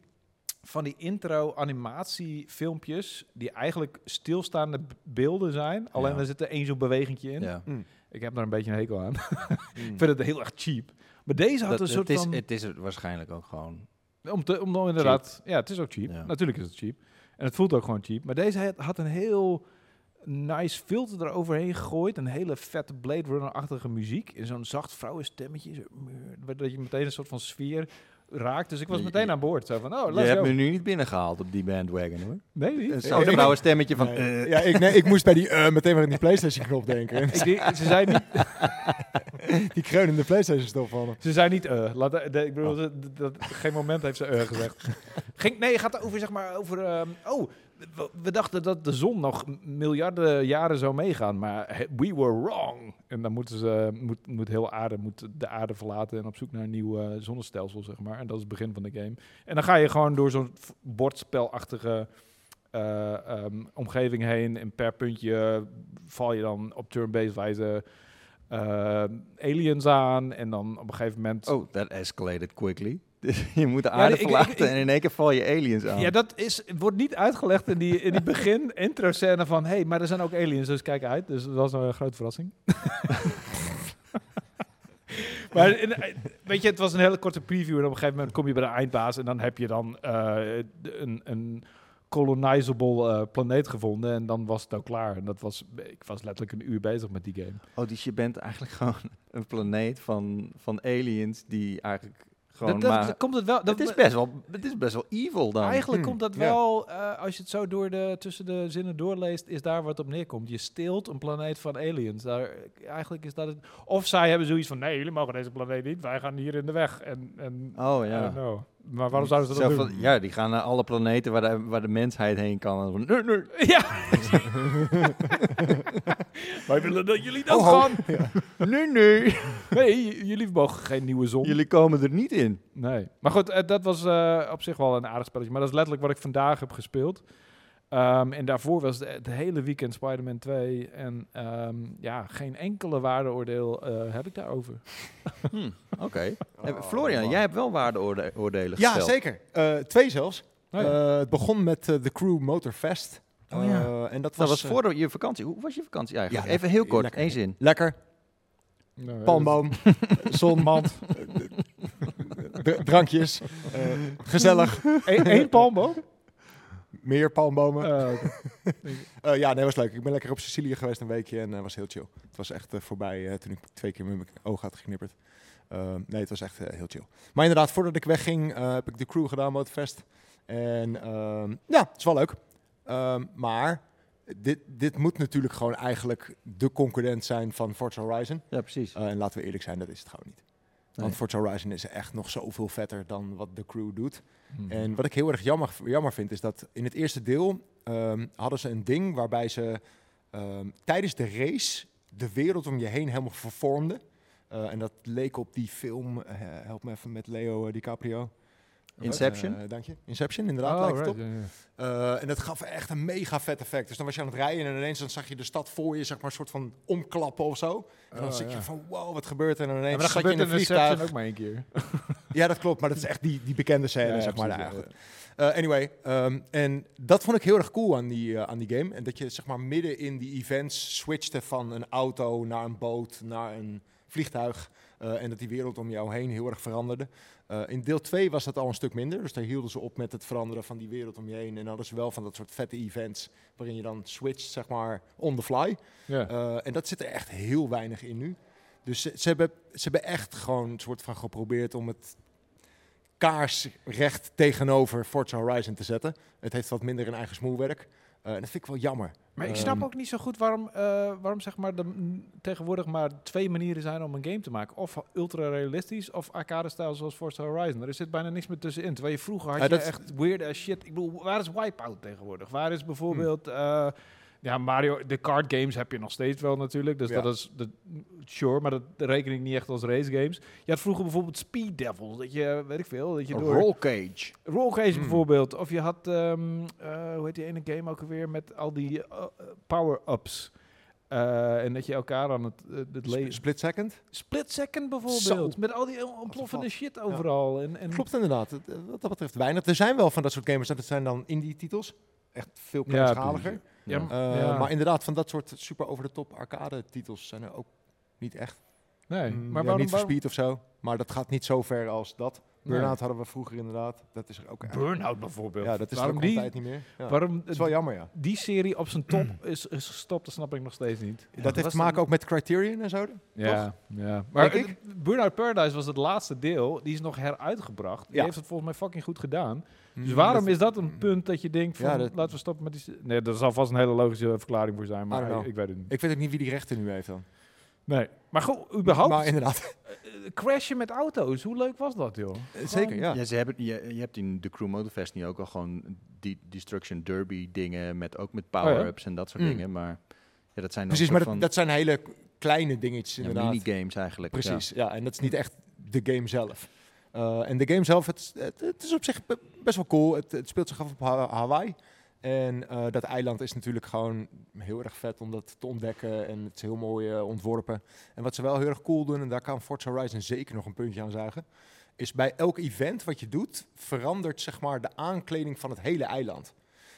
van die intro-animatiefilmpjes die eigenlijk stilstaande b- beelden zijn? Alleen Ja. er zit er één zo'n bewegingje in. Ja. Ik heb daar een beetje een hekel aan. Mm. Ik vind het heel erg cheap. Maar deze had Dat, een Hmm. het, soort is, van... Oh, het is er waarschijnlijk ook gewoon. Om, te, om dan inderdaad... Ja, het is ook cheap. Ja. Natuurlijk is het cheap. En het voelt ook gewoon cheap. Maar deze had- had een heel nice filter eroverheen gegooid. Een hele vette Blade Runner-achtige muziek. In zo'n zacht vrouwenstemmetje. Zo, mm, dat je meteen een soort van sfeer raakt. Dus ik was Je- meteen aan boord. Zo van, oh, je let's hebt go. me nu niet binnengehaald op die bandwagon hoor. Nee, niet. Een zoutblauwe stemmetje van... Nee. eh, Ja, ik, nee, ik moest bij die, eh, meteen weer aan die Playstation-knop denken. Ik denk- ze zijn niet... die kreunende Playstation-stof van hem. Ze zijn niet eh. Laat, de- ik bedoel, dat, dat- geen moment heeft ze eh gezegd. Ging, nee, het gaat over, zeg maar, over... ehm, oh, we, we dachten dat de zon nog m- miljarden jaren zou meegaan, maar he- we were wrong. En dan moeten ze, moet, moet heel aarde, moet de aarde verlaten en op zoek naar een nieuw eh, zonnestelsel, zeg maar. En dat is het begin van de game. En dan ga je gewoon door zo'n f- bordspelachtige eh, ehm, omgeving heen en per puntje val je dan op turn-based wijze... eh, aliens aan en dan op een gegeven moment Oh, that escalated quickly. Dus je moet de Ja, aarde ik- ik- verlaten ik- en in één keer val je aliens aan. Ja, dat is, het wordt niet uitgelegd in die, in die begin intro scène van... hé, hey, maar er zijn ook aliens, dus kijk uit. Dus dat was een grote verrassing. maar in- weet je, het was een hele korte preview... en op een gegeven moment kom je bij de eindbaas... en dan heb je dan eh, de- een, een colonizable eh, planeet gevonden... en dan was het ook klaar. En dat was, ik was letterlijk een uur bezig met die game. Oh, dus je bent eigenlijk gewoon een planeet van, van aliens die eigenlijk gewoon dat, dat, maar... dat komt het wel... Dat het, is best wel, het is best wel evil dan. Eigenlijk Hmm, komt dat ja. wel, eh, als je het zo door de, tussen de zinnen doorleest, is daar wat op neerkomt. Je steelt een planeet van aliens. Daar, eh, eigenlijk is dat het. Of zij hebben zoiets van: nee, jullie mogen deze planeet niet, wij gaan hier in de weg. En, en Oh I don't ja. know. Maar nou, waarom zouden ze Zo dat doen? van, ja, die gaan naar alle planeten waar de, waar de mensheid heen kan. En van, nee, nee. Ja! wij willen dat jullie dat Oh, ho. gaan. Nee, nee. Nee, j- jullie mogen geen nieuwe zon. Jullie komen er niet in. Nee. Maar goed, eh, dat was eh, op zich wel een aardig spelletje. Maar dat is letterlijk wat ik vandaag heb gespeeld. Ehm, en daarvoor was het het hele weekend Spider-Man 2. En ehm, ja, geen enkele waardeoordeel eh, heb ik daarover. Hm, Oké. Oh, Eh, Oh, Florian, jij hebt wel waardeoordelen gesteld. Ja, zeker. Eh, twee zelfs. Oh ja. Eh, het begon met eh, de Crew Motor Fest. Oh ja. Eh, en dat was, Dat was eh, voor je vakantie. Hoe was je vakantie eigenlijk? Ja, Even heel kort, lekker. één zin. lekker. Nou, Palmboom, zonmand, drankjes, eh, gezellig, dat is- Eén één Oh, palmboom? meer Oh. palmbomen. Eh, oké. Eh, ja, nee, was leuk. Ik ben lekker op Sicilië geweest een weekje en eh, was heel chill. Het was echt eh, voorbij eh, toen ik twee keer met mijn oog had geknipperd. Eh, nee, het was echt eh, heel chill. Maar inderdaad, voordat ik wegging eh, heb ik de crew gedaan, Motorfest. En ehm, ja, het is wel leuk. Ehm, maar dit, dit moet natuurlijk gewoon eigenlijk de concurrent zijn van Forza Horizon. Ja, precies. Eh, en laten we eerlijk zijn, dat is het gewoon niet. Want Nee. Forza Horizon is echt nog zoveel vetter dan wat de crew doet. Hmm. Mhm. En wat ik heel erg jammer, jammer vind, is dat in het eerste deel ehm, hadden ze een ding waarbij ze ehm, tijdens de race de wereld om je heen helemaal vervormden. Eh, en dat leek op die film, eh, help me even met Leo eh, DiCaprio. Inception? Eh, dank je. Inception, inderdaad, Oh, lijkt het right, op. ja, ja. Eh, en dat gaf echt een mega vet effect. Dus dan was je aan het rijden en ineens dan zag je de stad voor je, zeg maar, een soort van omklappen of zo. En dan Oh, zit je ja. van, wow, wat gebeurt er? En dan Ja, ineens maar dat zat je gebeurt in een in Inception vliegtuig. ook maar één keer. Ja, dat klopt, maar dat is echt die, die bekende scène, Ja, ja, zeg maar. precies, nou, ja, ja, goed. Eh, anyway, ehm, en dat vond ik heel erg cool aan die, eh, aan die game. En dat je zeg maar midden in die events switchte van een auto naar een boot, naar een vliegtuig. eh, en dat die wereld om jou heen heel erg veranderde. Eh, in deel 2 was dat al een stuk minder. Dus daar hielden ze op met het veranderen van die wereld om je heen. En hadden ze wel van dat soort vette events waarin je dan switcht, zeg maar, on the fly. Ja. Eh, en dat zit er echt heel weinig in nu. Dus ze, ze hebben, ze hebben echt gewoon een soort van geprobeerd om het kaarsrecht tegenover Forza Horizon te zetten. Het heeft wat minder een eigen smoelwerk. Eh, en dat vind ik wel jammer. Maar ik snap Ehm, ook niet zo goed waarom, eh, waarom zeg maar de, m, tegenwoordig maar twee manieren zijn om een game te maken. Of ultra realistisch of arcade-stijl zoals Forza Horizon. Er zit bijna niks meer tussenin. Terwijl je vroeger had Ja, je dat is- echt weird as shit. Ik bedoel, waar is Wipeout tegenwoordig? Waar is bijvoorbeeld... Hmm. eh, ja, Mario, de card games heb je nog steeds wel natuurlijk. Dus Ja. dat is, de, sure, maar dat reken ik niet echt als race games. Je had vroeger bijvoorbeeld Speed Devil. Dat je, weet ik veel, dat je Oh, door... Roll cage. Rollcage Hmm. bijvoorbeeld. Of je had, ehm, eh, hoe heet die ene game ook alweer, met al die eh, eh, power-ups. Eh, en dat je elkaar aan het, eh, het Sp- leven... split second? Split Second bijvoorbeeld. Zo. Met al die eh, ontploffende shit Ja. overal. En, en Klopt inderdaad. Het- eh, Wat dat betreft weinig. Er zijn wel van dat soort gamers. en Dat zijn dan indie titels. Echt veel Ja, kleinschaliger. Ja, m- Eh, ja. Maar inderdaad, van dat soort super over de top arcade titels zijn er ook niet echt. nee, Mm, maar ja, waarom... niet voor waarom- speed of zo. Maar dat gaat niet zo ver als dat. nee. Burnout hadden we vroeger inderdaad. Dat is er ook. eigenlijk- Burnout bijvoorbeeld. Ja, dat is er waarom ook al een die, tijd niet meer. Ja. Waarom Dat is wel jammer, ja. die serie op zijn top is, is gestopt, dat snap ik nog steeds niet. dat heeft te maken ook met Criterion en zo. Ja, ja. Maar Denk het- Burnout Paradise was het laatste deel. Die is nog heruitgebracht. Die Ja. heeft het volgens mij fucking goed gedaan. Mm, Dus waarom is dat een punt dat je denkt van Ja, dat- laten we stoppen met die... s- Nee, daar zal vast een hele logische verklaring voor zijn, I maar don't ik, know. ik weet het niet. Ik weet ook niet wie die rechten nu heeft dan. Nee. Maar goed, überhaupt Maar inderdaad. eh, crashen met auto's, hoe leuk was dat joh? Zeker, ja. Ja, ze hebben, je, je hebt in de Crew Motorfest nu ook al gewoon die Destruction Derby dingen, met, ook met power-ups en dat soort Mm. dingen. Maar ja, dat zijn dan Precies, soort maar dat, van dat zijn hele kleine dingetjes ja, inderdaad. minigames eigenlijk. ja. Precies, ja. En dat is niet echt de game zelf. Eh, en de game zelf, het, is- het, het is op zich be- best wel cool. Het, het speelt zich af op Ha- Hawaii. En eh, dat eiland is natuurlijk gewoon heel erg vet om dat te ontdekken. En het is heel mooi eh, ontworpen. En wat ze wel heel erg cool doen, en daar kan Forza Horizon zeker nog een puntje aan zuigen, is bij elk event wat je doet, verandert zeg maar de aankleding van het hele eiland.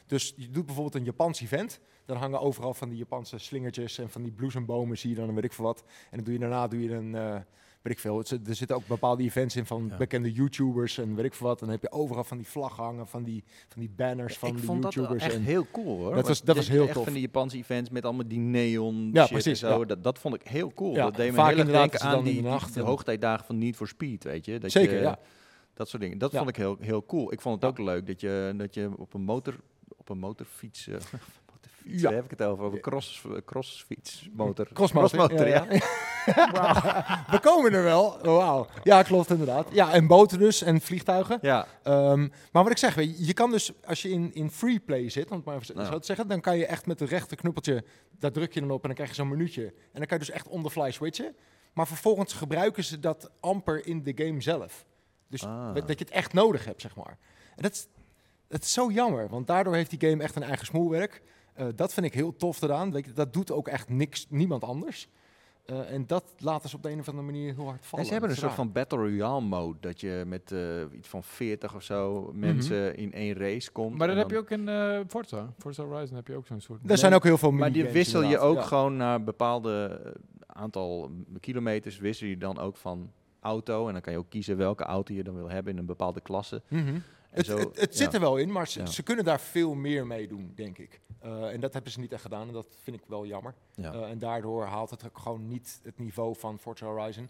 Dus je doet bijvoorbeeld een Japans event, dan hangen overal van die Japanse slingertjes en van die bloesembomen zie je dan en weet ik veel wat. En dan doe je daarna doe je een, eh, weet ik veel. Het zit- Er zitten ook bepaalde events in van Ja. bekende YouTubers en weet ik veel wat. En dan heb je overal van die vlaggen hangen, van die, van die banners van ik de vond dat wel YouTubers. echt en, heel cool hoor. Dat Want was- dat was je- heel echt tof. van die Japanse events met allemaal die neon Ja, shit precies, en zo. ja. Dat, dat vond ik heel cool. Ja, dat deed me vaak heel erg inderdaad denken is het aan dan die, in de die- nacht de en- hoogtijdagen van Need for Speed, weet je. Dat Zeker, je, ja. Dat soort dingen. Dat Ja. vond ik heel, heel cool. Ik vond het ook leuk dat je, dat je op een motor op een motorfiets, eh, motorfiets Ja. daar heb ik het over, over cross, crossfiets, motor. Crossmotor, ja. Wauw. We komen er wel. Wauw. Ja, klopt inderdaad. Ja, en boten dus en vliegtuigen. Ja, Ehm, maar wat ik zeg, weet je, je kan dus als je in, in free play zit, om het maar even Nou. zo te zeggen, dan kan je echt met het rechter knuppeltje, daar druk je dan op en dan krijg je zo'n minuutje. En dan kan je dus echt on the fly switchen. Maar vervolgens gebruiken ze dat amper in de game zelf. Dus Ah. dat dat je het echt nodig hebt, zeg maar. En dat is, dat is zo jammer, want daardoor heeft die game echt een eigen smoelwerk. Eh, dat vind ik heel tof eraan. Weet je, dat doet ook echt niks, niemand anders. Eh, en dat laten ze op de een of andere manier heel hard vallen. En ze hebben een Dat is soort van raar. battle royale mode. Dat je met eh, iets van 40 of Mhm. zo mensen in één race komt. Maar en dan heb je ook in eh, Forza. Forza Horizon heb je ook zo'n soort... Er zijn ook heel veel Maar die minigames wissel je inderdaad. ook Ja. gewoon naar een bepaalde eh, aantal mm, kilometers. Wissel je dan ook van auto. En dan kan je ook kiezen welke auto je dan wil hebben in een bepaalde klasse. Mhm. En Het, zo, het, het ja. zit er wel in, maar ze, Ja. ze kunnen daar veel meer mee doen, denk ik. Eh, en dat hebben ze niet echt gedaan en dat vind ik wel jammer. Ja. Eh, en daardoor haalt het ook gewoon niet het niveau van Forza Horizon.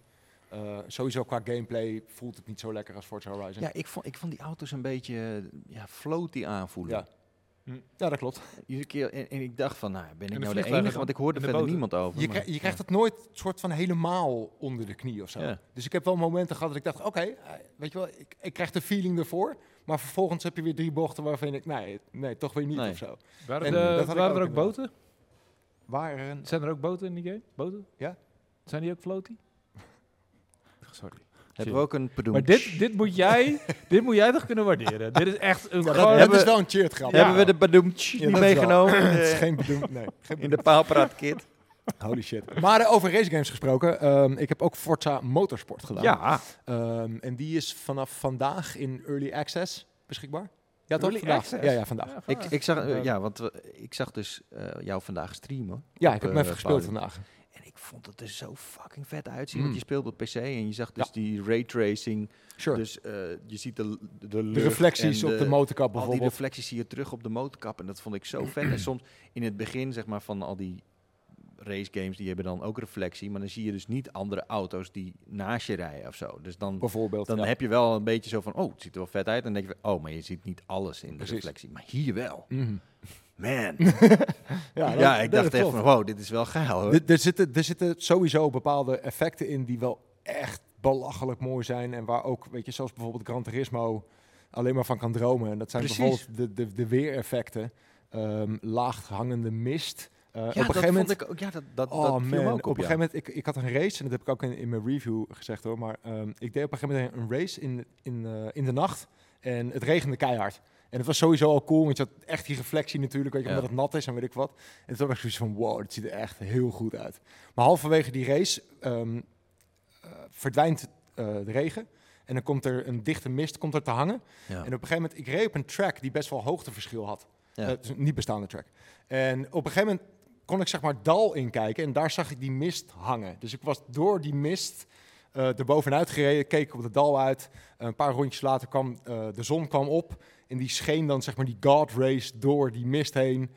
Eh, sowieso qua gameplay voelt het niet zo lekker als Forza Horizon. ja, ik vond, ik vond die auto's een beetje ja, floaty aanvoelen. Ja. Ja, dat klopt. Iedere keer, en, en ik dacht van, nou, ben ik nou de vliegtuigen enige? dan? Want ik hoorde En de verder boten? niemand over. Je, maar- krij- je krijgt het nooit soort van helemaal onder de knie of zo. Ja. Dus ik heb wel momenten gehad dat ik dacht, oké, eh, weet je wel, ik, ik krijg de feeling ervoor. Maar vervolgens heb je weer drie bochten waarvan ik, nee, nee toch weer niet Nee. of zo. Waren, En er- dat had ik waren er ook ook boten? Waar een... Zijn er ook boten in die game? Boten? Ja. Zijn die ook floaty? Sorry. Hebben we ook een pedoen. Maar dit, dit, moet jij, dit moet jij toch kunnen waarderen? dit is echt een Ja, gewoon- dat, dat is wel een cheered grap. Ja. Hebben we de bedoemtje Ja, niet dat wel. meegenomen? Het is eh, geen bedoeld, nee. Geen In de paalpraatkit. Holy shit. Maar eh, over race games gesproken, ehm, ik heb ook Forza Motorsport gedaan. Ja, Ehm, en die is vanaf vandaag in Early Access beschikbaar. Ja, toch? Early vandaag. access? Ja, ja, vandaag. Ja, Ik, ik, zag, eh, ja, want we- ik zag dus eh, jou vandaag streamen. ik Op, heb hem eh, even gespeeld Pauli. vandaag. En ik vond het er zo fucking vet uitzien. Mm. Want je speelde op PC en je zag dus Ja. die raytracing. Sure. Dus eh, je ziet de, de, de lucht reflecties en op de motorkap Al die bijvoorbeeld. reflecties zie je terug op de motorkap. En dat vond ik zo vet. En soms in het begin zeg maar, van al die race games, die hebben dan ook reflectie. Maar dan zie je dus niet andere auto's die naast je rijden of zo. Dus dan, bijvoorbeeld. dan ja. heb je wel een beetje zo van, oh, het ziet er wel vet uit. En dan denk je, oh, maar je ziet niet alles in de Precies. reflectie. Maar hier wel. Mhm. Man. Ja, dat- ja, ik dacht dat klopt. echt van, wow, dit is wel geil hoor. Er, er zitten, er zitten sowieso bepaalde effecten in die wel echt belachelijk mooi zijn. En waar ook, weet je, zoals bijvoorbeeld Gran Turismo alleen maar van kan dromen. En dat zijn Precies. bijvoorbeeld de, de, de weereffecten. ehm laag hangende mist. Eh, op een ja, dat gegeven moment, vond ik ook. Ja, dat, dat, oh dat man, viel me ook op, op een ja. gegeven moment, ik, ik had een race, en dat heb ik ook in, in mijn review gezegd hoor, maar ehm, ik deed op een gegeven moment een race in, in, eh, in de nacht en het regende keihard. En het was sowieso al cool, want je had echt die reflectie natuurlijk, weet je, Ja. omdat het nat is en weet ik wat. En toen was ik zoiets van, wow, dit ziet er echt heel goed uit. Maar halverwege die race ehm, eh, verdwijnt eh, de regen en dan komt er een dichte mist komt er te hangen. Ja. En op een gegeven moment, ik reed op een track die best wel hoogteverschil had. Ja. Eh, het is een niet bestaande track. En op een gegeven moment kon ik zeg maar het dal inkijken en daar zag ik die mist hangen. Dus ik was door die mist eh er bovenuit gereden, keek op het dal uit. Eh, een paar rondjes later kwam eh, de zon kwam op en die scheen dan zeg maar die God race door die mist heen.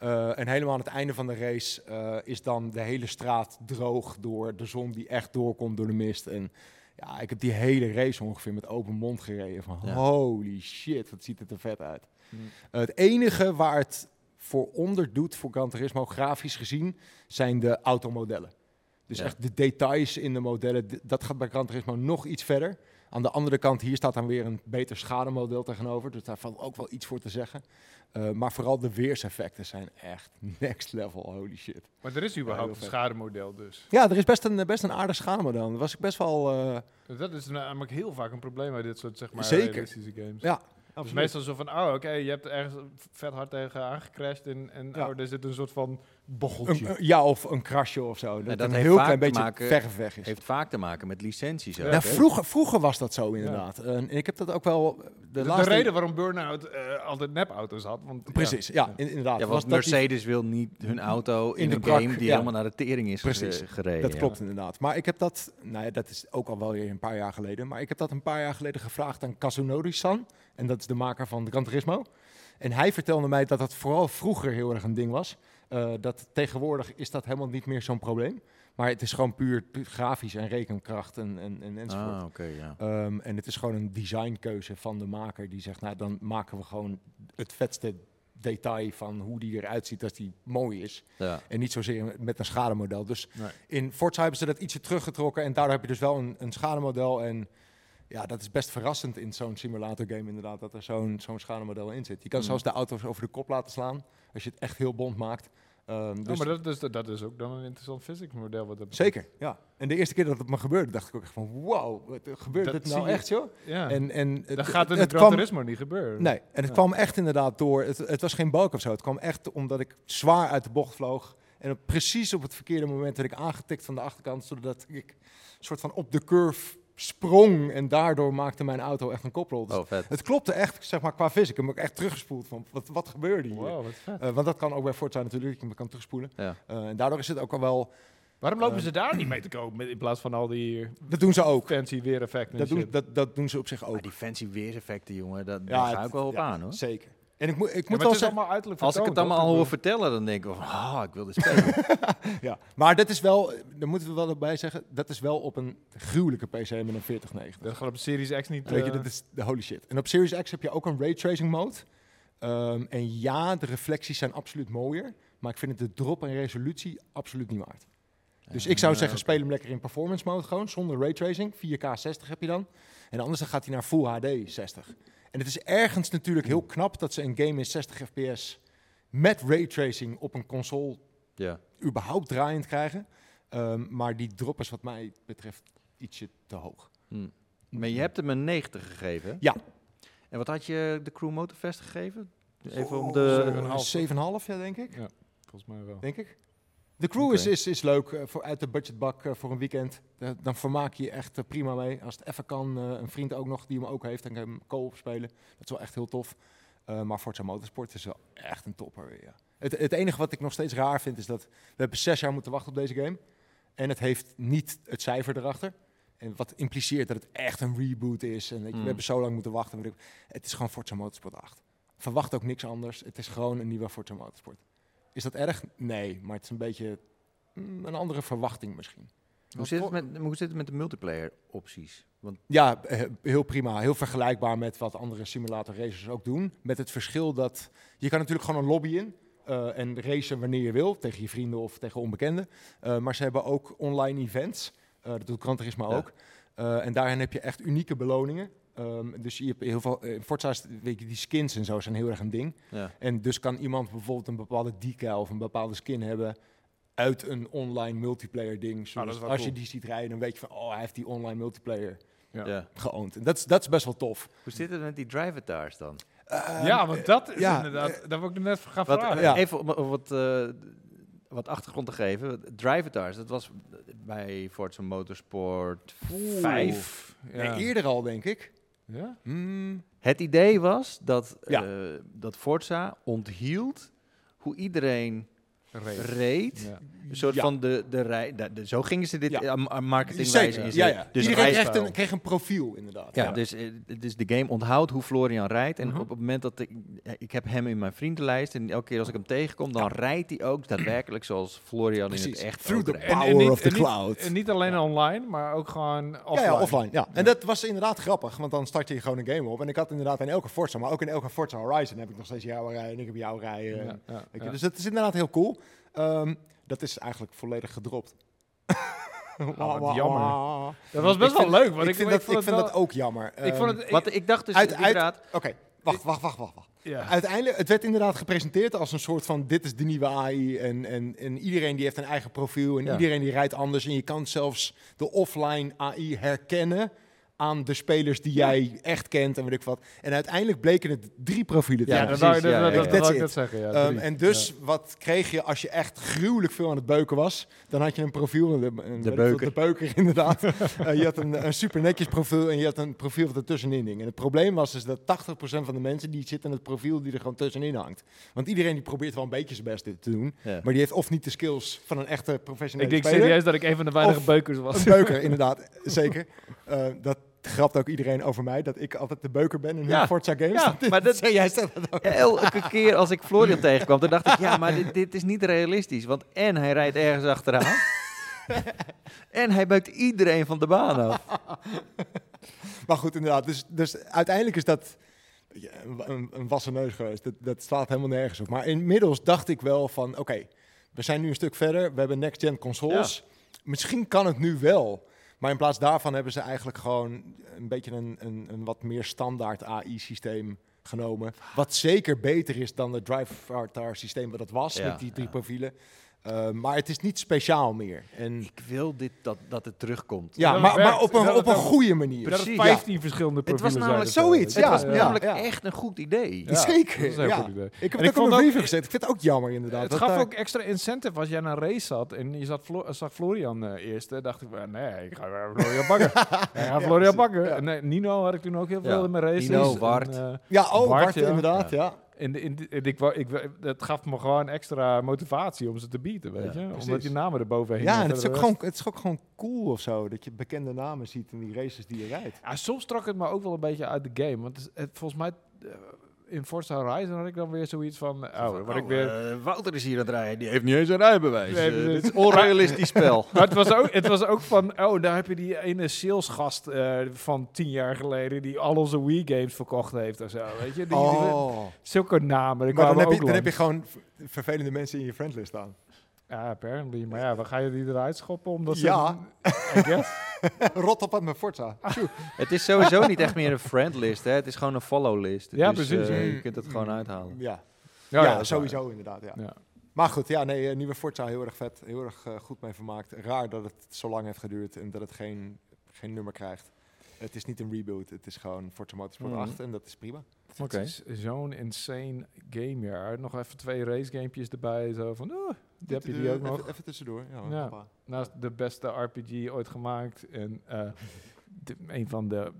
Eh, en helemaal aan het einde van de race eh, is dan de hele straat droog door de zon die echt doorkomt door de mist. En ja, ik heb die hele race ongeveer met open mond gereden. Van Ja. holy shit, wat ziet het er vet uit. Mm. Eh, het enige waar het voor onder doet voor Gran Turismo grafisch gezien zijn de automodellen. Dus Ja. echt de details in de modellen, d- dat gaat bij Gran Turismo nog iets verder. Aan de andere kant, hier staat dan weer een beter schademodel tegenover. Dus daar valt ook wel iets voor te zeggen. Eh, maar vooral de weerseffecten zijn echt next level, holy shit. maar er überhaupt is überhaupt heel een vet. schademodel dus. Ja, er is best een, best een aardig schademodel. Daar was ik best wel... eh, Dat is namelijk heel vaak een probleem bij dit soort zeg maar, Zeker. realistische games. ja, Dus meestal zo van, oh oké, je hebt ergens vet hard tegen aangecrashed en, en Ja. oh, er zit een soort van Een- bocheltje. een- ja, of een krasje of zo. Dat, dat een heeft heel vaak klein te beetje maken- ver weg is. Heeft vaak te maken met licenties. ook, Ja, hè? Nou, vroeger, vroeger was dat zo inderdaad. En ik heb dat ook wel... De, de, de laatste- reden waarom Burnout eh, altijd nepauto's had. Want, Precies, ja, in- inderdaad. Ja, was want dat die- Mercedes wil niet hun auto in, In de een brak, game die ja. helemaal naar de tering is Precies, ge- gereden. Ah, Dat klopt inderdaad. Maar ik heb dat, nou ja, dat is ook al wel weer een paar jaar geleden. Maar ik heb dat een paar jaar geleden gevraagd aan Kazunori-san. En dat is de maker van Gran Turismo. En hij vertelde mij dat dat vooral vroeger heel erg een ding was. Eh, dat tegenwoordig is dat helemaal niet meer zo'n probleem. Maar het is gewoon puur, puur grafisch en rekenkracht en, en, en Ja. enzovoort. Ah, oké, ja. Ehm, en het is gewoon een designkeuze van de maker die zegt, nou dan maken we gewoon het vetste detail van hoe die eruit ziet als die mooi is. ja. En niet zozeer met een schademodel. Dus Nee. in Forza hebben ze dat ietsje teruggetrokken. En daardoor heb je dus wel een, een schademodel. En ja, dat is best verrassend in zo'n simulator game inderdaad. Dat er zo'n zo'n schademodel in zit. Je kan Mm. zelfs de auto's over de kop laten slaan. Als je het echt heel bond maakt. Ehm, Ja. dus Oh, maar dat is, dat is ook dan een interessant physics model. Wat dat betreft. Zeker, ja. En de eerste keer dat het me gebeurde, dacht ik ook echt van... Wow, wat, eh, gebeurt Dat dit zie nou je. echt, joh? Ja. En, en het, dat gaat het, in het, het Gran kwam Turismo niet gebeuren. Nee, en het Ja. kwam echt inderdaad door. Het, het was geen balk of zo. Het kwam echt omdat ik zwaar uit de bocht vloog. En op, precies op het verkeerde moment werd ik aangetikt van de achterkant. Zodat ik soort van op de curve sprong. En daardoor maakte mijn auto echt een koprol. Dus Oh, vet. Het klopte echt, zeg maar, qua fysiek. Ik heb me ook echt teruggespoeld van wat, wat gebeurde hier. Wow, wat vet. Eh, want dat kan ook bij Forza natuurlijk, dat je me kan terugspoelen. Ja. Eh, en daardoor is het ook al wel... Waarom lopen Ehm, ze daar niet mee te koop met- in plaats van al die Dat doen ze ook. fancy weereffecten? dus Dat en doen, shit? dat, dat doen ze op zich ook. Maar Ah, die fancy weerseffecten, jongen, dat, Ja, daar ga het- ik wel op ja, aan, hoor. Zeker. En ik, moet ik Ja, moet maar wel het is zeggen... allemaal uiterlijk Als ik het vertoond, allemaal toch? hoor vertellen, dan denk ik van, ah, ik wil dit spelen. Ja, maar dat is wel, daar moeten we wel bij zeggen, dat is wel op een gruwelijke PC met een 4090. Dat gaat op Series X niet... Weet je, eh, dat is de holy shit. En op Series X heb je ook een raytracing mode. Ehm, en ja, de reflecties zijn absoluut mooier, maar ik vind het de drop in resolutie absoluut niet waard. Dus ik zou Ja, zeggen, oké. speel hem lekker in performance mode gewoon, zonder raytracing. 4K 60 heb je dan. En anders dan gaat hij naar Full HD 60. En het is ergens natuurlijk heel knap dat ze een game in 60 fps met raytracing op een console Ja. überhaupt draaiend krijgen. Ehm, maar die drop is wat mij betreft ietsje te hoog. Hm. Maar je hebt hem een 90 gegeven. hè? Ja. En wat had je de Crew Motorfest gegeven? Even om de... Oh. 7,5. 7,5, ja, denk ik. Volgens mij wel. Denk ik. De crew is, Oké. is, is leuk eh, voor, uit de budgetbak eh, voor een weekend. Eh, dan vermaak je je echt eh, prima mee. Als het even kan, eh, een vriend ook nog die hem ook heeft, dan kan je hem co-op spelen. Dat is wel echt heel tof. Eh, maar Forza Motorsport is wel echt een topper weer. Ja. Het, het enige wat ik nog steeds raar vind is dat we hebben zes jaar moeten wachten op deze game. En het heeft niet het cijfer erachter. En wat impliceert dat het echt een reboot is. En weet je, Mm. we hebben zo lang moeten wachten. Maar ik- Het is gewoon Forza Motorsport 8. Verwacht ook niks anders. Het is gewoon een nieuwe Forza Motorsport. Is dat erg? Nee, maar het is een beetje mm, een andere verwachting misschien. Hoe zit, het met, hoe zit het met de multiplayer opties? Want Ja, eh, heel prima. Heel vergelijkbaar met wat andere simulator racers ook doen. Met het verschil dat je kan natuurlijk gewoon een lobby in. eh, en racen wanneer je wil, tegen je vrienden of tegen onbekenden. Eh, maar ze hebben ook online events. Eh, dat doet Gran Turismo Ja. ook. Eh, en daarin heb je echt unieke beloningen. Ehm, dus je hebt heel veel... eh, In Forza, is- weet je, die skins en zo zijn heel erg een ding. ja. En dus kan iemand bijvoorbeeld een bepaalde decal of een bepaalde skin hebben uit een online multiplayer ding. Nou, dat Zodat is wel als je cool. die ziet rijden, dan weet je van, oh, hij heeft die online multiplayer Ja. Ja. geoond. En dat is, dat is best wel tof. Hoe zit het met die drivatars dan? Ehm, ja, want dat is ja, eh, inderdaad... daar word ik net gaan Wat, vragen. eh, Ja. Even om om wat, eh, wat achtergrond te geven. Drivatars, dat was bij Forza Motorsport Oeh. 5. Ja. eh, nee, eerder al, denk ik. Ja? Hmm, Het idee was dat, Ja. eh, dat Forza onthield hoe iedereen reed. Ja. Een soort Ja. van de, de rij... de- de- zo gingen ze dit Ja. eh, aan- aan marketingwijze Zeker, in. ja, ja. Dus Iedereen rijstijl. kreeg een, kreeg een profiel, inderdaad. Ja, Dus, eh, dus de game onthoudt hoe Florian rijdt. En Mhm. op het moment dat ik... eh, Ik heb hem in mijn vriendenlijst. En elke keer als ik hem tegenkom, dan rijdt hij ook daadwerkelijk zoals Florian in het Precies. echt Through ook the rijdt. Power of the en niet- cloud. en Eh, niet alleen online, maar ook gewoon Ja, offline. ja, offline. Ja. En dat was inderdaad grappig, want dan start je gewoon een game op. En ik had inderdaad in elke Forza, maar ook in elke Forza Horizon heb ik nog steeds jou rijden en ik heb jou rijden. Ja, ja, Weet je, ja. Dus dat is inderdaad heel cool. Ehm, dat is eigenlijk volledig gedropt. Ah, wat jammer. Dat was best wel leuk, want ik, ik, vind ik dat, vond ik het vind dat ehm, wel- ook jammer. ik vond het... Wat ik dacht dus uit- uit- inderdaad... Oké, wacht, wacht, wacht, wacht. wacht. ja. Uiteindelijk, het werd inderdaad gepresenteerd als een soort van dit is de nieuwe AI en, en, en iedereen die heeft een eigen profiel en Ja. iedereen die rijdt anders en je kan zelfs de offline AI herkennen aan de spelers die jij echt kent en weet ik wat. En uiteindelijk bleken het drie profielen te Ja, Ja, zijn. dat precies, wou- dat- ja, dat- ja, dat ja. wou That's ik it. net zeggen. ja, Ehm, drie. en dus, wat kreeg je als je echt gruwelijk veel aan het beuken was? Dan had je een profiel. Een, een, weet ik veel, beuker. De beuker, inderdaad. Eh, je had een, een super netjes profiel en je had een profiel wat er tussenin hing. En het probleem was dus dat 80% van de mensen die zitten in het profiel die er gewoon tussenin hangt. Want iedereen die probeert wel een beetje zijn best dit te doen. Ja. Maar die heeft of niet de skills van een echte Ja. professionele Ik denk speler. serieus dat ik een van de weinige Of- beukers was. Een beuker, inderdaad. Zeker. Eh, dat grapt ook iedereen over mij, dat ik altijd de beuker ben in Ja. de Forza Games. Ja, maar dat, Jij stelt dat ook. elke keer als ik Florian tegenkwam, dan dacht ik, ja, maar dit, dit is niet realistisch. Want en hij rijdt ergens achteraan. en hij buikt iedereen van de baan af. Maar goed, inderdaad. Dus, dus uiteindelijk is dat weet je, een, een, een wassen neus geweest. Dat, dat slaat helemaal nergens op. Maar inmiddels dacht ik wel van, oké, we zijn nu een stuk verder. We hebben next-gen consoles. Misschien kan het nu wel. Maar in plaats daarvan hebben ze eigenlijk gewoon een beetje een, een, een wat meer standaard AI-systeem genomen. Wat zeker beter is dan het DriveArtar-systeem wat dat was Ja, met die drie ja. profielen. Eh, maar het is niet speciaal meer. En, Ik wil dit, dat, dat het terugkomt. ja, dat maar, werkt. maar op een, Dat op een het ook- goede manier. Dat het Precies. 15 verschillende Het was profielen zijn namelijk of zo, zoiets, weet je. het was ja, namelijk ja. echt een goed idee. Ja. Zeker. dat is een heel ja. goed idee. Ik heb En het ik ook in vond mijn ook- review gezet. Ik vind het ook jammer inderdaad. Het Dat eh, gaf daar- ook extra incentive als jij naar een race zat en je zat Flo- zag Florian eh, eerst. eh, dacht ik, van, nee, ik ga eh, Florian bakken. ik ga Florian precies, bakken. ja. En, eh, Nino had ik toen ook heel veel Ja, in mijn races. Nino, En, Bart. eh, Ja, oh, Bart, Bart, ja. inderdaad, ja. En, de- en de- en ik, wou- ik, wou- dat gaf me gewoon extra motivatie om ze te bieden, weet Ja, je? Omdat precies. die namen er bovenheen Ja, hingen en het is, verder ook was- gewoon, het is ook gewoon cool of zo, dat je bekende namen ziet in die races die je rijdt. Ja, soms trok het me ook wel een beetje uit de game. Want het, is- het- volgens mij, eh, in Forza Horizon had ik dan weer zoiets van... Oh, word ik eh. weer... eh, Wouter is hier aan het rijden, die heeft niet eens een rijbewijs. Nee, Eh, precies. dit is onrealistisch spel. Maar het was, ook, het was ook van, oh, daar heb je die ene salesgast eh, van tien jaar geleden die al onze Wii games verkocht heeft en zo, weet je? Die, die- Oh. zulke namen, die Oh. Maar dan kwamen heb, ook je, dan heb langs. je gewoon v- vervelende mensen in je friendlist staan. Ja, apparently. Maar ja, we ga je die eruit schoppen? Omdat ze- Ja. I guess. Rot op aan mijn Forza. Ah. Het is sowieso niet echt meer een friendlist, hè. het is gewoon een followlist. Ja, Dus, precies. eh, je kunt het gewoon uithalen. Ja, Ja, ja, ja, dat is waar. sowieso inderdaad, ja. Ja. Maar goed, ja, nee, eh, nieuwe Forza, heel erg vet. Heel erg eh, goed mee vermaakt. Raar dat het zo lang heeft geduurd en dat het geen, geen nummer krijgt. Het is niet een rebuild, het is gewoon Forza Mm. Motorsport Mhm. 8 en dat is prima. Oké. Het is zo'n insane gamejaar. Nog even twee race gamepjes erbij. Zo van, oh, Die heb je eh, die ook nog. Even, even tussendoor. Ja, hoor. Ja. Hoppa. Naast de beste RPG ooit gemaakt. En eh, de- een van de Final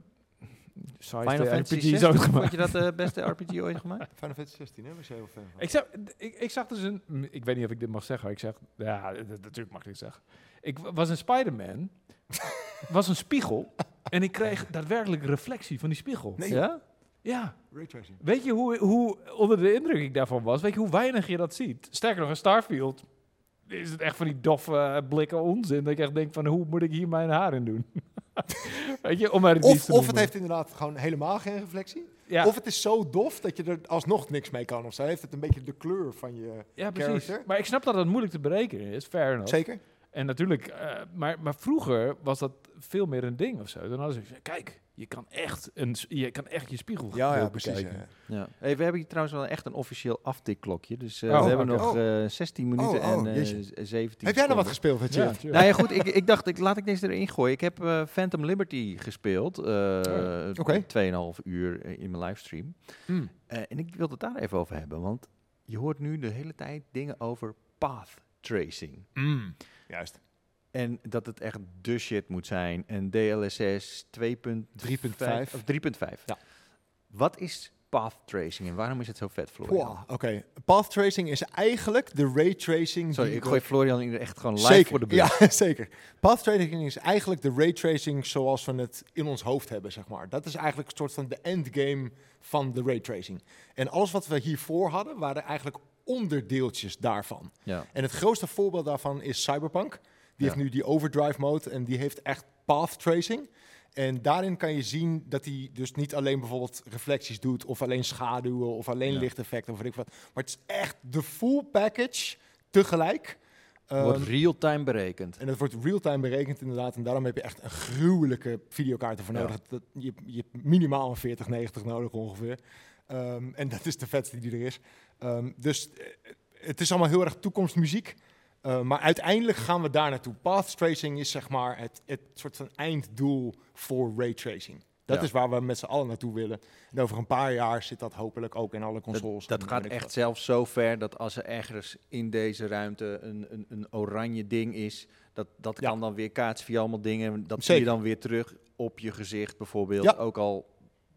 saaiste Fantasy RPG's 16, ooit vond gemaakt. je dat de beste RPG ooit gemaakt? Final Fantasy 16, hè? Was jij heel fan van? Ik zag, ik, ik zag dus een... m, Ik weet niet of ik dit mag zeggen. Ik zeg... Ja, dat, dat- natuurlijk mag ik dit zeggen. Ik w- was een Spider-Man. was een spiegel. En ik kreeg daadwerkelijk reflectie van die spiegel. Nee. Ja? Ja. Raytracing. Weet je hoe, hoe onder de indruk ik daarvan was? Weet je hoe weinig je dat ziet? Sterker nog, in Starfield is het echt van die doffe eh, blikken onzin. Dat ik echt denk van, hoe moet ik hier mijn haar in doen? Weet je, om maar iets te Of, of noemen. het heeft inderdaad gewoon helemaal geen reflectie. Ja, Of het is zo dof dat je er alsnog niks mee kan. Of zo heeft het een beetje de kleur van je... ja, precies. character. Maar ik snap dat dat moeilijk te berekenen is, fair enough. Zeker? En natuurlijk, eh, maar, maar vroeger was dat veel meer een ding of zo. Dan hadden ze gezegd, kijk, je kan echt, een, s- je, kan echt je spiegel Ja, ja, goed precies. bekijken. ja. ja. Hey, we hebben hier trouwens wel echt een officieel aftikklokje. Dus eh, Oh, we hebben oké. nog Oh. eh, 16 minuten Oh, oh, en eh, jeetje. z- 17 Heb jij nou seconden. wat gespeeld, weet je? Ja, tuurlijk. Nou ja, goed, ik, ik dacht, ik, laat ik deze erin gooien. Ik heb eh, Phantom Liberty gespeeld, eh Oh, Oké. 2,5 uur eh, in mijn livestream. Hmm. Eh, en ik wil het daar even over hebben, want je hoort nu de hele tijd dingen over path tracing. Mm. Juist. En dat het echt de shit moet zijn. En DLSS 2.5 3.5. of 3.5. Ja. Wat is path tracing en waarom is het zo vet, Florian? Wow, oké. Path tracing is eigenlijk de ray tracing. Sorry, die ik we- gooi Florian hier echt gewoon live Zeker, voor de bus. Ja, zeker. Path tracing is eigenlijk de ray tracing zoals we het in ons hoofd hebben, zeg maar. Dat is eigenlijk een soort van de endgame van de ray tracing. En alles wat we hiervoor hadden, waren eigenlijk onderdeeltjes daarvan. Ja. En het grootste voorbeeld daarvan is Cyberpunk. Die Ja. heeft nu die overdrive mode en die heeft echt path tracing. En daarin kan je zien dat hij dus niet alleen bijvoorbeeld reflecties doet, of alleen schaduwen, of alleen Ja. lichteffecten, of weet ik wat. Maar het is echt de full package tegelijk. Wordt Ehm, real-time berekend. en dat wordt real-time berekend inderdaad. En daarom heb je echt een gruwelijke videokaart ervoor Ja. nodig. Dat, je, je hebt minimaal een 4090 nodig ongeveer. Ehm, en dat is de vetste die er is. Ehm, dus eh, het is allemaal heel erg toekomstmuziek. Eh, maar uiteindelijk gaan we daar naartoe. Path tracing is zeg maar het, het soort van einddoel voor ray tracing. Dat Ja. is waar we met z'n allen naartoe willen. En over een paar jaar zit dat hopelijk ook in alle Dat- consoles. Dat, en gaat weet ik echt wat. zelfs zo ver dat als er ergens in deze ruimte een, een, een oranje ding is, dat, dat Ja. kan dan weer kaatsen via allemaal dingen. Dat zie je Zeker. dan weer terug op je gezicht bijvoorbeeld. Ja. Ook al,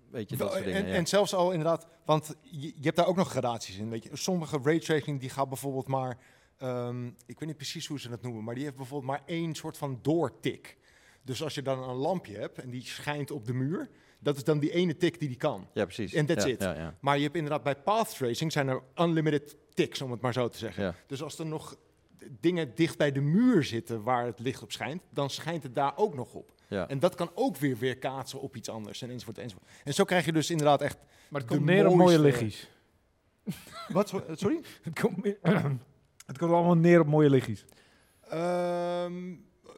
weet je, dat Wel, soort dingen. en, ja. en zelfs al inderdaad, want je, je hebt daar ook nog gradaties in. Weet je. Sommige raytracing die gaat bijvoorbeeld maar, ehm, ik weet niet precies hoe ze dat noemen, maar die heeft bijvoorbeeld maar één soort van doortik. Dus als je dan een lampje hebt en die schijnt op de muur, dat is dan die ene tik die die kan. ja, precies. en that's ja, it. Ja, ja. Maar je hebt inderdaad bij path tracing zijn er unlimited tiks, om het maar zo te zeggen. Ja. Dus als er nog dingen dicht bij de muur zitten waar het licht op schijnt, dan schijnt het daar ook nog op. Ja. En dat kan ook weer weer kaatsen op iets anders en enzovoort enzovoort. En zo krijg je dus inderdaad echt Maar het De komt neer op mooie mooiste- liggies. Wat? zo- Sorry? Het komt, neer- het komt allemaal neer op mooie liggies.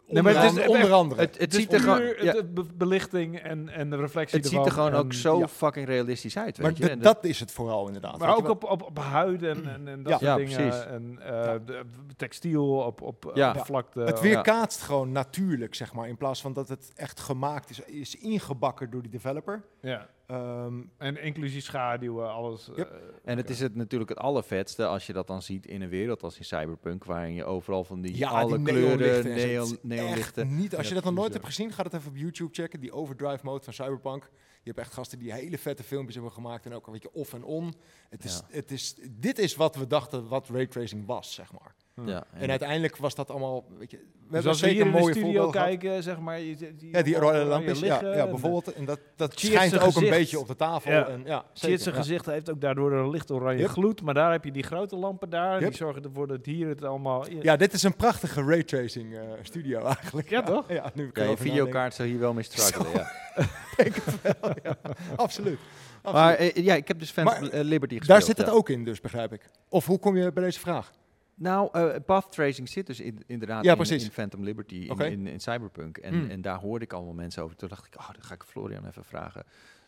onder, maar het is an- echt- onder andere. Het, het Dus ziet er puur gewoon, ja, de be- belichting en, en de reflectie het ziet er ervan gewoon en- ook zo ja. fucking realistisch uit. Weet maar je? d- En dat, is het vooral inderdaad. Maar Weet je ook wel? op, op, op huid en, en, en dat Ja. soort Ja, dingen. precies. En eh, Ja. de- textiel op, op eh, Ja. oppervlakte. het weerkaatst gewoon natuurlijk, zeg maar. In plaats van dat het echt gemaakt is, is ingebakken door die developer. Ja. Ehm, En inclusief schaduwen, alles. Yep. eh, En het is het natuurlijk het allervetste als je dat dan ziet in een wereld als in Cyberpunk, waarin je overal van die ja, alle die kleuren, neonlichten en zo. neon, Het is neonlichten. echt Niet, als Ja, je dat nog precies, nooit ja. hebt gezien, ga dat even op YouTube checken. Die overdrive mode van Cyberpunk. Je hebt echt gasten die hele vette filmpjes hebben gemaakt. En ook een beetje off en on. Het is, het is, dit is wat we dachten wat raytracing was, zeg maar. Ja, En uiteindelijk was dat allemaal, weet je, we dus hebben als we zeker hier in de mooie studio voorbeelden gehad. kijken, zeg maar... Je, zit hier Ja, die allemaal rode oranje lampjes, ja, liggen ja, en- bijvoorbeeld. En dat, dat Cheers schijnt ook zijn een eh, gezicht. beetje op de tafel. Ja. En, ja, Shit, zeker, zijn ja. gezicht heeft ook daardoor een licht oranje Yep. gloed. Maar daar heb je die grote lampen daar. en Yep. Die zorgen ervoor dat hier het allemaal... Ja, Ja, dit is een prachtige raytracing eh, studio eigenlijk. Ja, toch? Ja, nu ik Ja, je erover videokaart zou hier wel mee struggelen. Ja. nadenk. Absoluut. absoluut. Maar eh, ja, ik heb dus Phantom Maar, eh, Liberty gespeeld. Daar zit het ja. ook in dus, begrijp ik. Of hoe kom je bij deze vraag? Nou, eh, path tracing zit dus in, inderdaad Ja, in- in, precies. Phantom Liberty, in, Oké. in, in Cyberpunk. En, Hmm. en daar hoorde ik allemaal mensen over. Toen dacht ik, oh, dan ga ik Florian even vragen.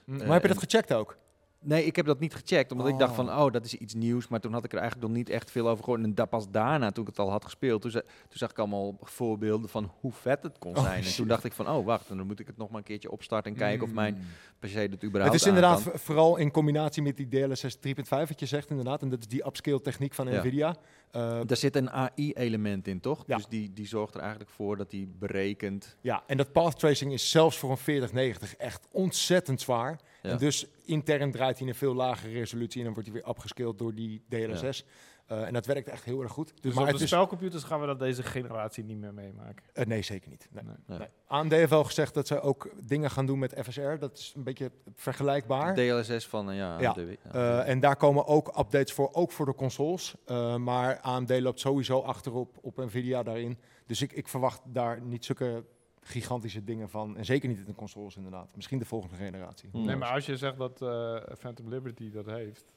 maar heb je dat en- gecheckt ook? Nee, ik heb dat niet gecheckt, omdat ik dacht van, Oh. oh, dat is iets nieuws. Maar toen had ik er eigenlijk nog niet echt veel over gehoord. En da- pas daarna, toen ik het al had gespeeld, toen, za- toen zag ik allemaal voorbeelden van hoe vet het kon Oh, zijn. en toen shit. Mm. dacht ik van, oh, wacht, en dan moet ik het nog maar een keertje opstarten en kijken of mijn PC dat überhaupt Het is aan inderdaad kan. v- vooral in combinatie met die DLSS 3.5 wat je zegt inderdaad. En dat is die upscale techniek van Ja. NVIDIA. Eh, Daar zit een AI-element in, toch? Ja. Dus die, die zorgt er eigenlijk voor dat die berekent. ja, en dat path tracing is zelfs voor een 4090 echt ontzettend zwaar. Ja. En dus intern draait hij in een veel lagere resolutie en dan wordt hij weer upgescaled door die DLSS. Eh, en dat werkt echt heel erg goed. Dus, Dus maar op het de is- spelcomputers gaan we dat deze generatie niet meer meemaken. eh, nee, zeker niet. Nee. Nee. Nee. Nee. AMD heeft wel gezegd dat ze ook dingen gaan doen met FSR. Dat is een beetje vergelijkbaar. DLSS van, eh, ja, Ja, de- ja. Eh, en daar komen ook updates voor, ook voor de consoles. Eh, maar AMD loopt sowieso achterop op Nvidia daarin. Dus ik, ik verwacht daar niet zulke gigantische dingen van. En zeker niet in de consoles inderdaad. Misschien de volgende generatie. Hmm. Nee, maar als je zegt dat eh, Phantom Liberty dat heeft,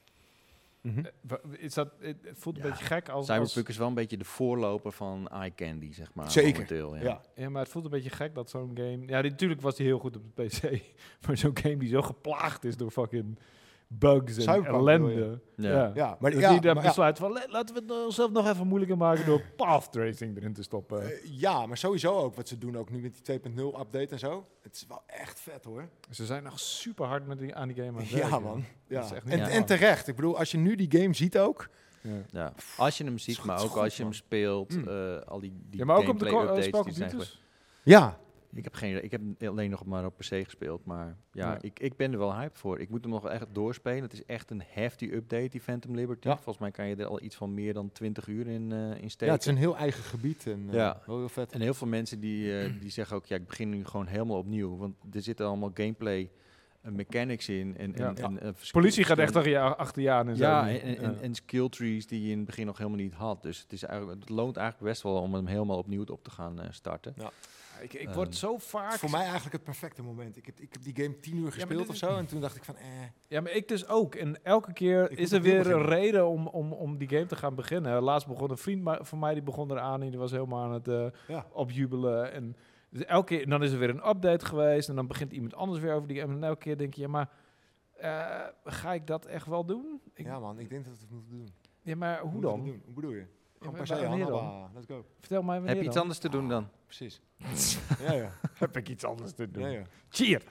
Mhm. eh, wa- is dat, het het voelt Ja. een beetje gek als, als... Cyberpunk is wel een beetje de voorloper van eye candy, zeg maar. Zeker, momenteel, ja. ja. Ja, maar het voelt een beetje gek dat zo'n game... Ja, die- natuurlijk was die heel goed op de PC, maar zo'n game die zo geplaagd is door fucking bugs en Cyberpunk ellende. bedoel Ja. Ja, dus maar, Dat ja, die dan maar ja. besluit van, "Le- laten we het nou onszelf nog even moeilijker maken door path tracing erin te stoppen. Eh, ja, maar sowieso ook wat ze doen ook nu met die 2.0 update en zo. Het is wel echt vet hoor. Ze zijn nog super hard met die, aan die game aan het Ja werken. man. Dat Ja. is echt niet En, normaal. en terecht. Ik bedoel, als je nu die game ziet ook. Ja. Ja. Als je hem ziet, Is goed, maar is ook goed, als je hem man. speelt, Mm. eh, al die, die Hmm. ja, maar ook op de gameplay co- eh, updates die zijn geweest. spelcomputers. Ja. Ik heb, geen, ik heb alleen nog maar op PC gespeeld, maar ja, Ja. Ik, ik ben er wel hyped voor. Ik moet hem nog wel echt doorspelen. Het is echt een hefty update, die Phantom Liberty. Ja. Volgens mij kan je er al iets van meer dan 20 uur in, eh in ja, steken. het is een heel eigen gebied. En, eh, Ja. Wel heel vet. En heel veel mensen die, eh, die zeggen ook, ja, ik begin nu gewoon helemaal opnieuw. Want er zitten allemaal gameplay eh, mechanics in. En, en, Ja. en, eh, vers- Politie gaat echt verschillende- achter je, achter je aan en zo. Ja, nu. en, en, en- en skill trees die je in het begin nog helemaal niet had. Dus het, is eigenlijk, het loont eigenlijk best wel om hem helemaal opnieuw op te gaan eh, starten. Ik, ik Ehm, word zo vaak... Eh, Voor mij eigenlijk het perfecte moment. Ik heb, ik heb die game tien uur gespeeld dit of is- zo. En toen dacht ik van, eh. Ja, maar ik dus ook. En elke Ik keer is moet er opnieuw weer een beginnen. reden om, om, om die game te gaan beginnen. Laatst begon een vriend ma- van mij, die begon eraan en die was helemaal aan het eh, Ja. opjubelen. En dus elke keer, en dan is er weer een update geweest en dan begint iemand anders weer over die game. En elke keer denk je, ja, maar eh, ga ik dat echt wel doen? Ik- ja. Ja man, ik denk dat we het moeten doen. maar hoe Moeten we dan? doen? Hoe bedoel je? Gewoon maar per se wanneer dan? Hanaba. Let's go. Vertel mij wanneer Heb je iets dan? anders te doen dan? Precies. ja, ja. Heb ik iets anders te doen? ja, ja. Cheer!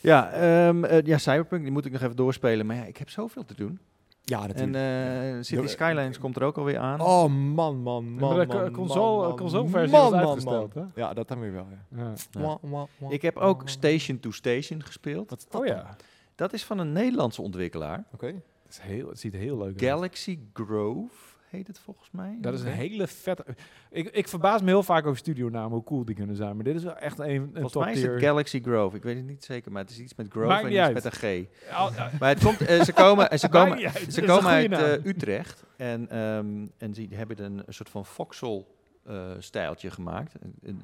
Ja, ehm, eh, ja, Cyberpunk, die moet ik nog even doorspelen. Maar ja, ik heb zoveel te doen. Ja, En eh, City Doe- Skylines komt er ook alweer aan. oh man, man, man, maar de man, co- man, console- man, consoleversie man, was man, uitgesteld, man. Ja, dat dan weer wel, ja. Ja. Ja. Mwah, mwah, mwah. Ik heb ook Station to Station gespeeld. Wat is dat Oh dan? ja, Dat is van een Nederlandse ontwikkelaar. Oké. het, is heel, het ziet er heel leuk uit. Galaxy Grove heet het volgens mij. Dat is een hele vette... Ik, ik verbaas me heel vaak over studionamen, hoe cool die kunnen zijn. Maar dit is wel echt een, een Volgens top mij is het tier. Galaxy Grove. Ik weet het niet zeker, maar het is iets met Grove Maakt en niet iets uit. met een G. Al- eh, Maar het komt, eh, ze komen, eh, ze komen, Maakt niet uit, ze het is een komen uit goede eh, Utrecht en, ehm, en die hebben een, een soort van voxel eh, stijltje gemaakt. En- en-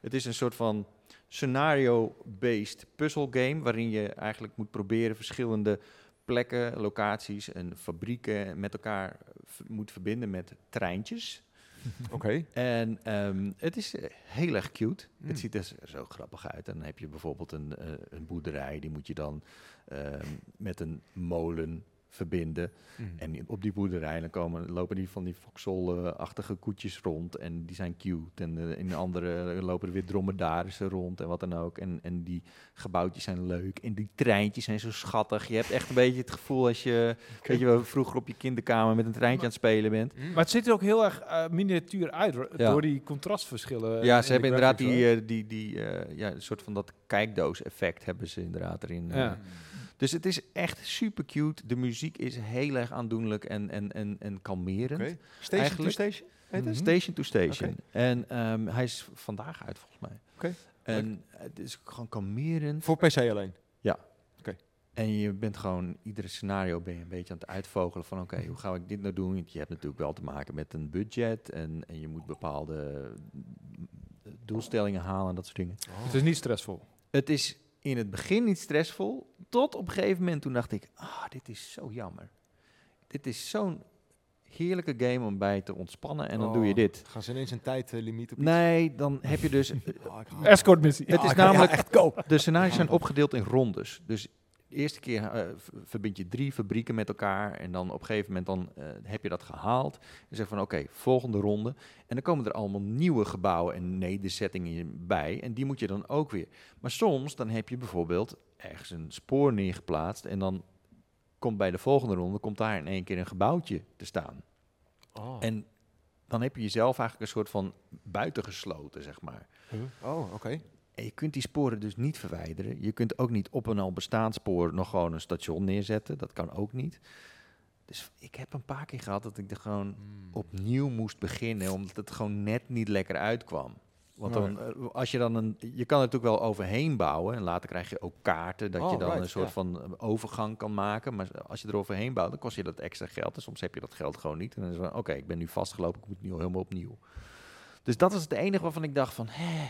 Het is een soort van scenario-based puzzelgame waarin je eigenlijk moet proberen verschillende plekken, locaties en fabrieken met elkaar eh, v- moet verbinden met treintjes. Oké. En ehm, het is eh, heel erg cute. Mm. Het ziet er z- zo grappig uit. En dan heb je bijvoorbeeld een, eh, een boerderij, die moet je dan ehm, met een molen verbinden. En die- op die boerderij dan komen, lopen die van die foxhol-achtige koetjes rond. En die zijn cute. En eh, in de andere eh, lopen er weer dromedarissen rond en wat dan ook. En, en die gebouwtjes zijn leuk. En die treintjes zijn zo schattig. Je hebt echt een beetje het gevoel als je, weet je wel, vroeger op je kinderkamer met een treintje aan het spelen bent. Maar het ziet er ook heel erg eh, miniatuur uit, hoor, Ja. door die eh, contrastverschillen. Ja, in ze de hebben inderdaad graphics, die, eh, die, die eh, ja, een soort van dat kijkdoos-effect hebben ze inderdaad erin. eh. Ja. Dus het is echt super cute. De muziek is heel erg aandoenlijk en, en, en, en kalmerend. Oké. Station Eigenlijk- Mhm. to station? eh, Mhm. Heet Mhm. het? Station to station. En ehm, hij is vandaag uit volgens mij. Oké. En het is gewoon kalmerend. Voor PC alleen. En je bent gewoon, iedere scenario ben je een beetje aan het uitvogelen van oké, hoe ga ik dit nou doen? Want je hebt natuurlijk wel te maken met een budget en, en je moet bepaalde eh, doelstellingen halen en dat soort dingen. Het is niet stressvol. Het is in het begin niet stressvol, tot op een gegeven moment toen dacht ik, ah, dit is zo jammer. Dit is zo'n heerlijke game om bij te ontspannen en dan doe je Oh. dit. Gaan ze ineens een tijdlimiet op iets? Nee, dan heb je dus... Oh, ik haat het. Escort missie. Het Ah, is ik haat- ja, namelijk- Oh. echt koop. De scenario's zijn opgedeeld in rondes. Dus de eerste keer eh, v- verbind je drie fabrieken met elkaar. En dan op een gegeven moment dan, eh, heb je dat gehaald. En zeg van oké, volgende ronde. En dan komen er allemaal nieuwe gebouwen en nederzettingen bij. En die moet je dan ook weer. Maar soms dan heb je bijvoorbeeld ergens een spoor neergeplaatst. En dan komt bij de volgende ronde komt daar in één keer een gebouwtje te staan. Oh, En dan heb je jezelf eigenlijk een soort van buitengesloten, zeg maar. oh oké. En je kunt die sporen dus niet verwijderen. Je kunt ook niet op een al bestaand spoor nog gewoon een station neerzetten. Dat kan ook niet. Dus ik heb een paar keer gehad dat ik er gewoon opnieuw moest beginnen, omdat het gewoon net niet lekker uitkwam. Want Nee. dan, eh, als je dan een, je kan er natuurlijk wel overheen bouwen en later krijg je ook kaarten dat Oh, je dan right, een soort ja. van eh, overgang kan maken. Maar als je er overheen bouwt, dan kost je dat extra geld. En soms heb je dat geld gewoon niet. En dan is het van, oké, ik ben nu vastgelopen, ik moet nu helemaal opnieuw. Dus dat was het enige waarvan ik dacht van, hé,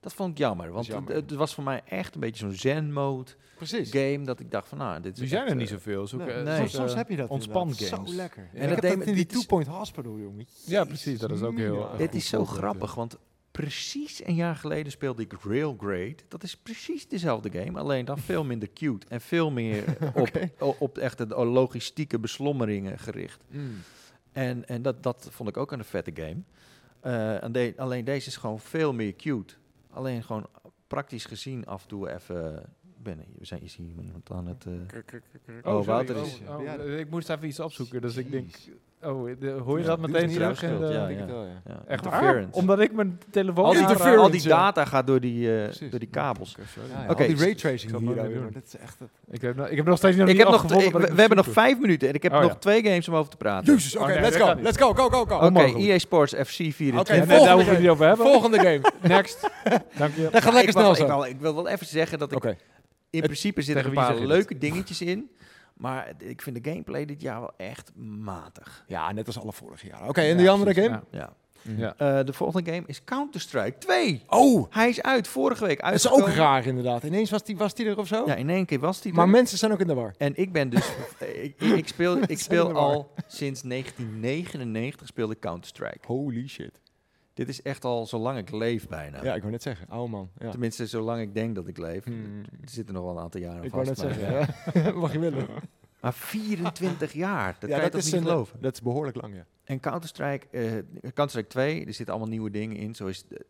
dat vond ik jammer. Want jammer. Het, het was voor mij echt een beetje zo'n zen-mode Precies. game, dat ik dacht van, nou, dit is Die zijn echt, er niet eh, zoveel. Zoek, Nee, eh, nee. soms, soms, soms eh, heb je dat ontspan inderdaad. games. Zo lekker. Ja. En dat dat deed deed me- in die dit is- Two Point Hospital, jongen. Ja, precies, dat is ook heel, Mina. eh, Dit is zo voorbeeld, grappig, want precies een jaar geleden speelde ik Railgrade. Dat is precies dezelfde game, alleen dan veel minder cute en veel meer op, o- op echt de logistieke beslommeringen gericht. Mm. En, en dat, dat vond ik ook een vette game. Eh, en de- alleen deze is gewoon veel meer cute. Alleen gewoon praktisch gezien af en toe even... Ik Ben, we zijn is hier iemand aan het... eh, Oh, sorry. Wouter is- Oh, oh, Ja. eh, ik moest even iets opzoeken, dus ik denk... Jeez. Oh, eh, de- hoor je Ja, dat doe meteen het niet terug? aan in de- schuld, ja. ja. ja, Echt waar? interference. Omdat ik mijn telefoon... al, die, aanraak- interference, al die ja. data gaat door die, eh, Precies. door die kabels. Oké, sorry. Ja, Oké. ja. Al die Ik zal raytracing het hier nooit ook, meer maar dat is echt... het- Ik, heb, nog- ik heb nog steeds niet Ik heb nog, gevonden ik- wat we ik moest hebben nog zoeken. vijf minuten en ik heb Oh, nog ja. twee games om over te praten. Jezus, oké, Oh, nee, let's dat go, kan niet. let's go, go, go, go. Oké, Onmogelijk. EA Sports FC 24. Oké, Ja, Ja, nee, daar hoeven we het Volgende niet over hebben. Volgende game. Next. Dank je. Dat gaat lekker ik wou- snel ik, zo. wou- ik wil wel even zeggen dat ik Oké. in Het- principe zitten er een tegen wie paar zeg je dit? leuke dingetjes in. Maar het- ik vind de gameplay dit jaar wel echt matig. Ja, net als alle vorige jaren. Oké, en die andere game? Ja. Ja. Eh, de volgende game is Counter-Strike 2. Oh, Hij is uit, vorige week dat is uitgekomen. ook raar inderdaad. Ineens was die, was die er of zo. Ja, in één keer was die maar er. mensen zijn ook in de war. En ik ben dus... ik, ik speel, ik speel in de war. al sinds 1999 speelde ik Counter-Strike. Holy shit. Dit is echt al zolang ik leef bijna. Ja, ik wou net zeggen. Oude man. Ja. Tenminste, zolang ik denk dat ik leef. Hmm. Er zitten nog wel een aantal jaren Ik wou vast. net maar, zeggen. eh, ja. Mag je willen. maar 24 jaar, dat Ja, kan je toch niet een- eh, geloven? Dat is behoorlijk lang, ja. En Counter-Strike eh, Counter-Strike 2, er zitten allemaal nieuwe dingen in. Zo is de,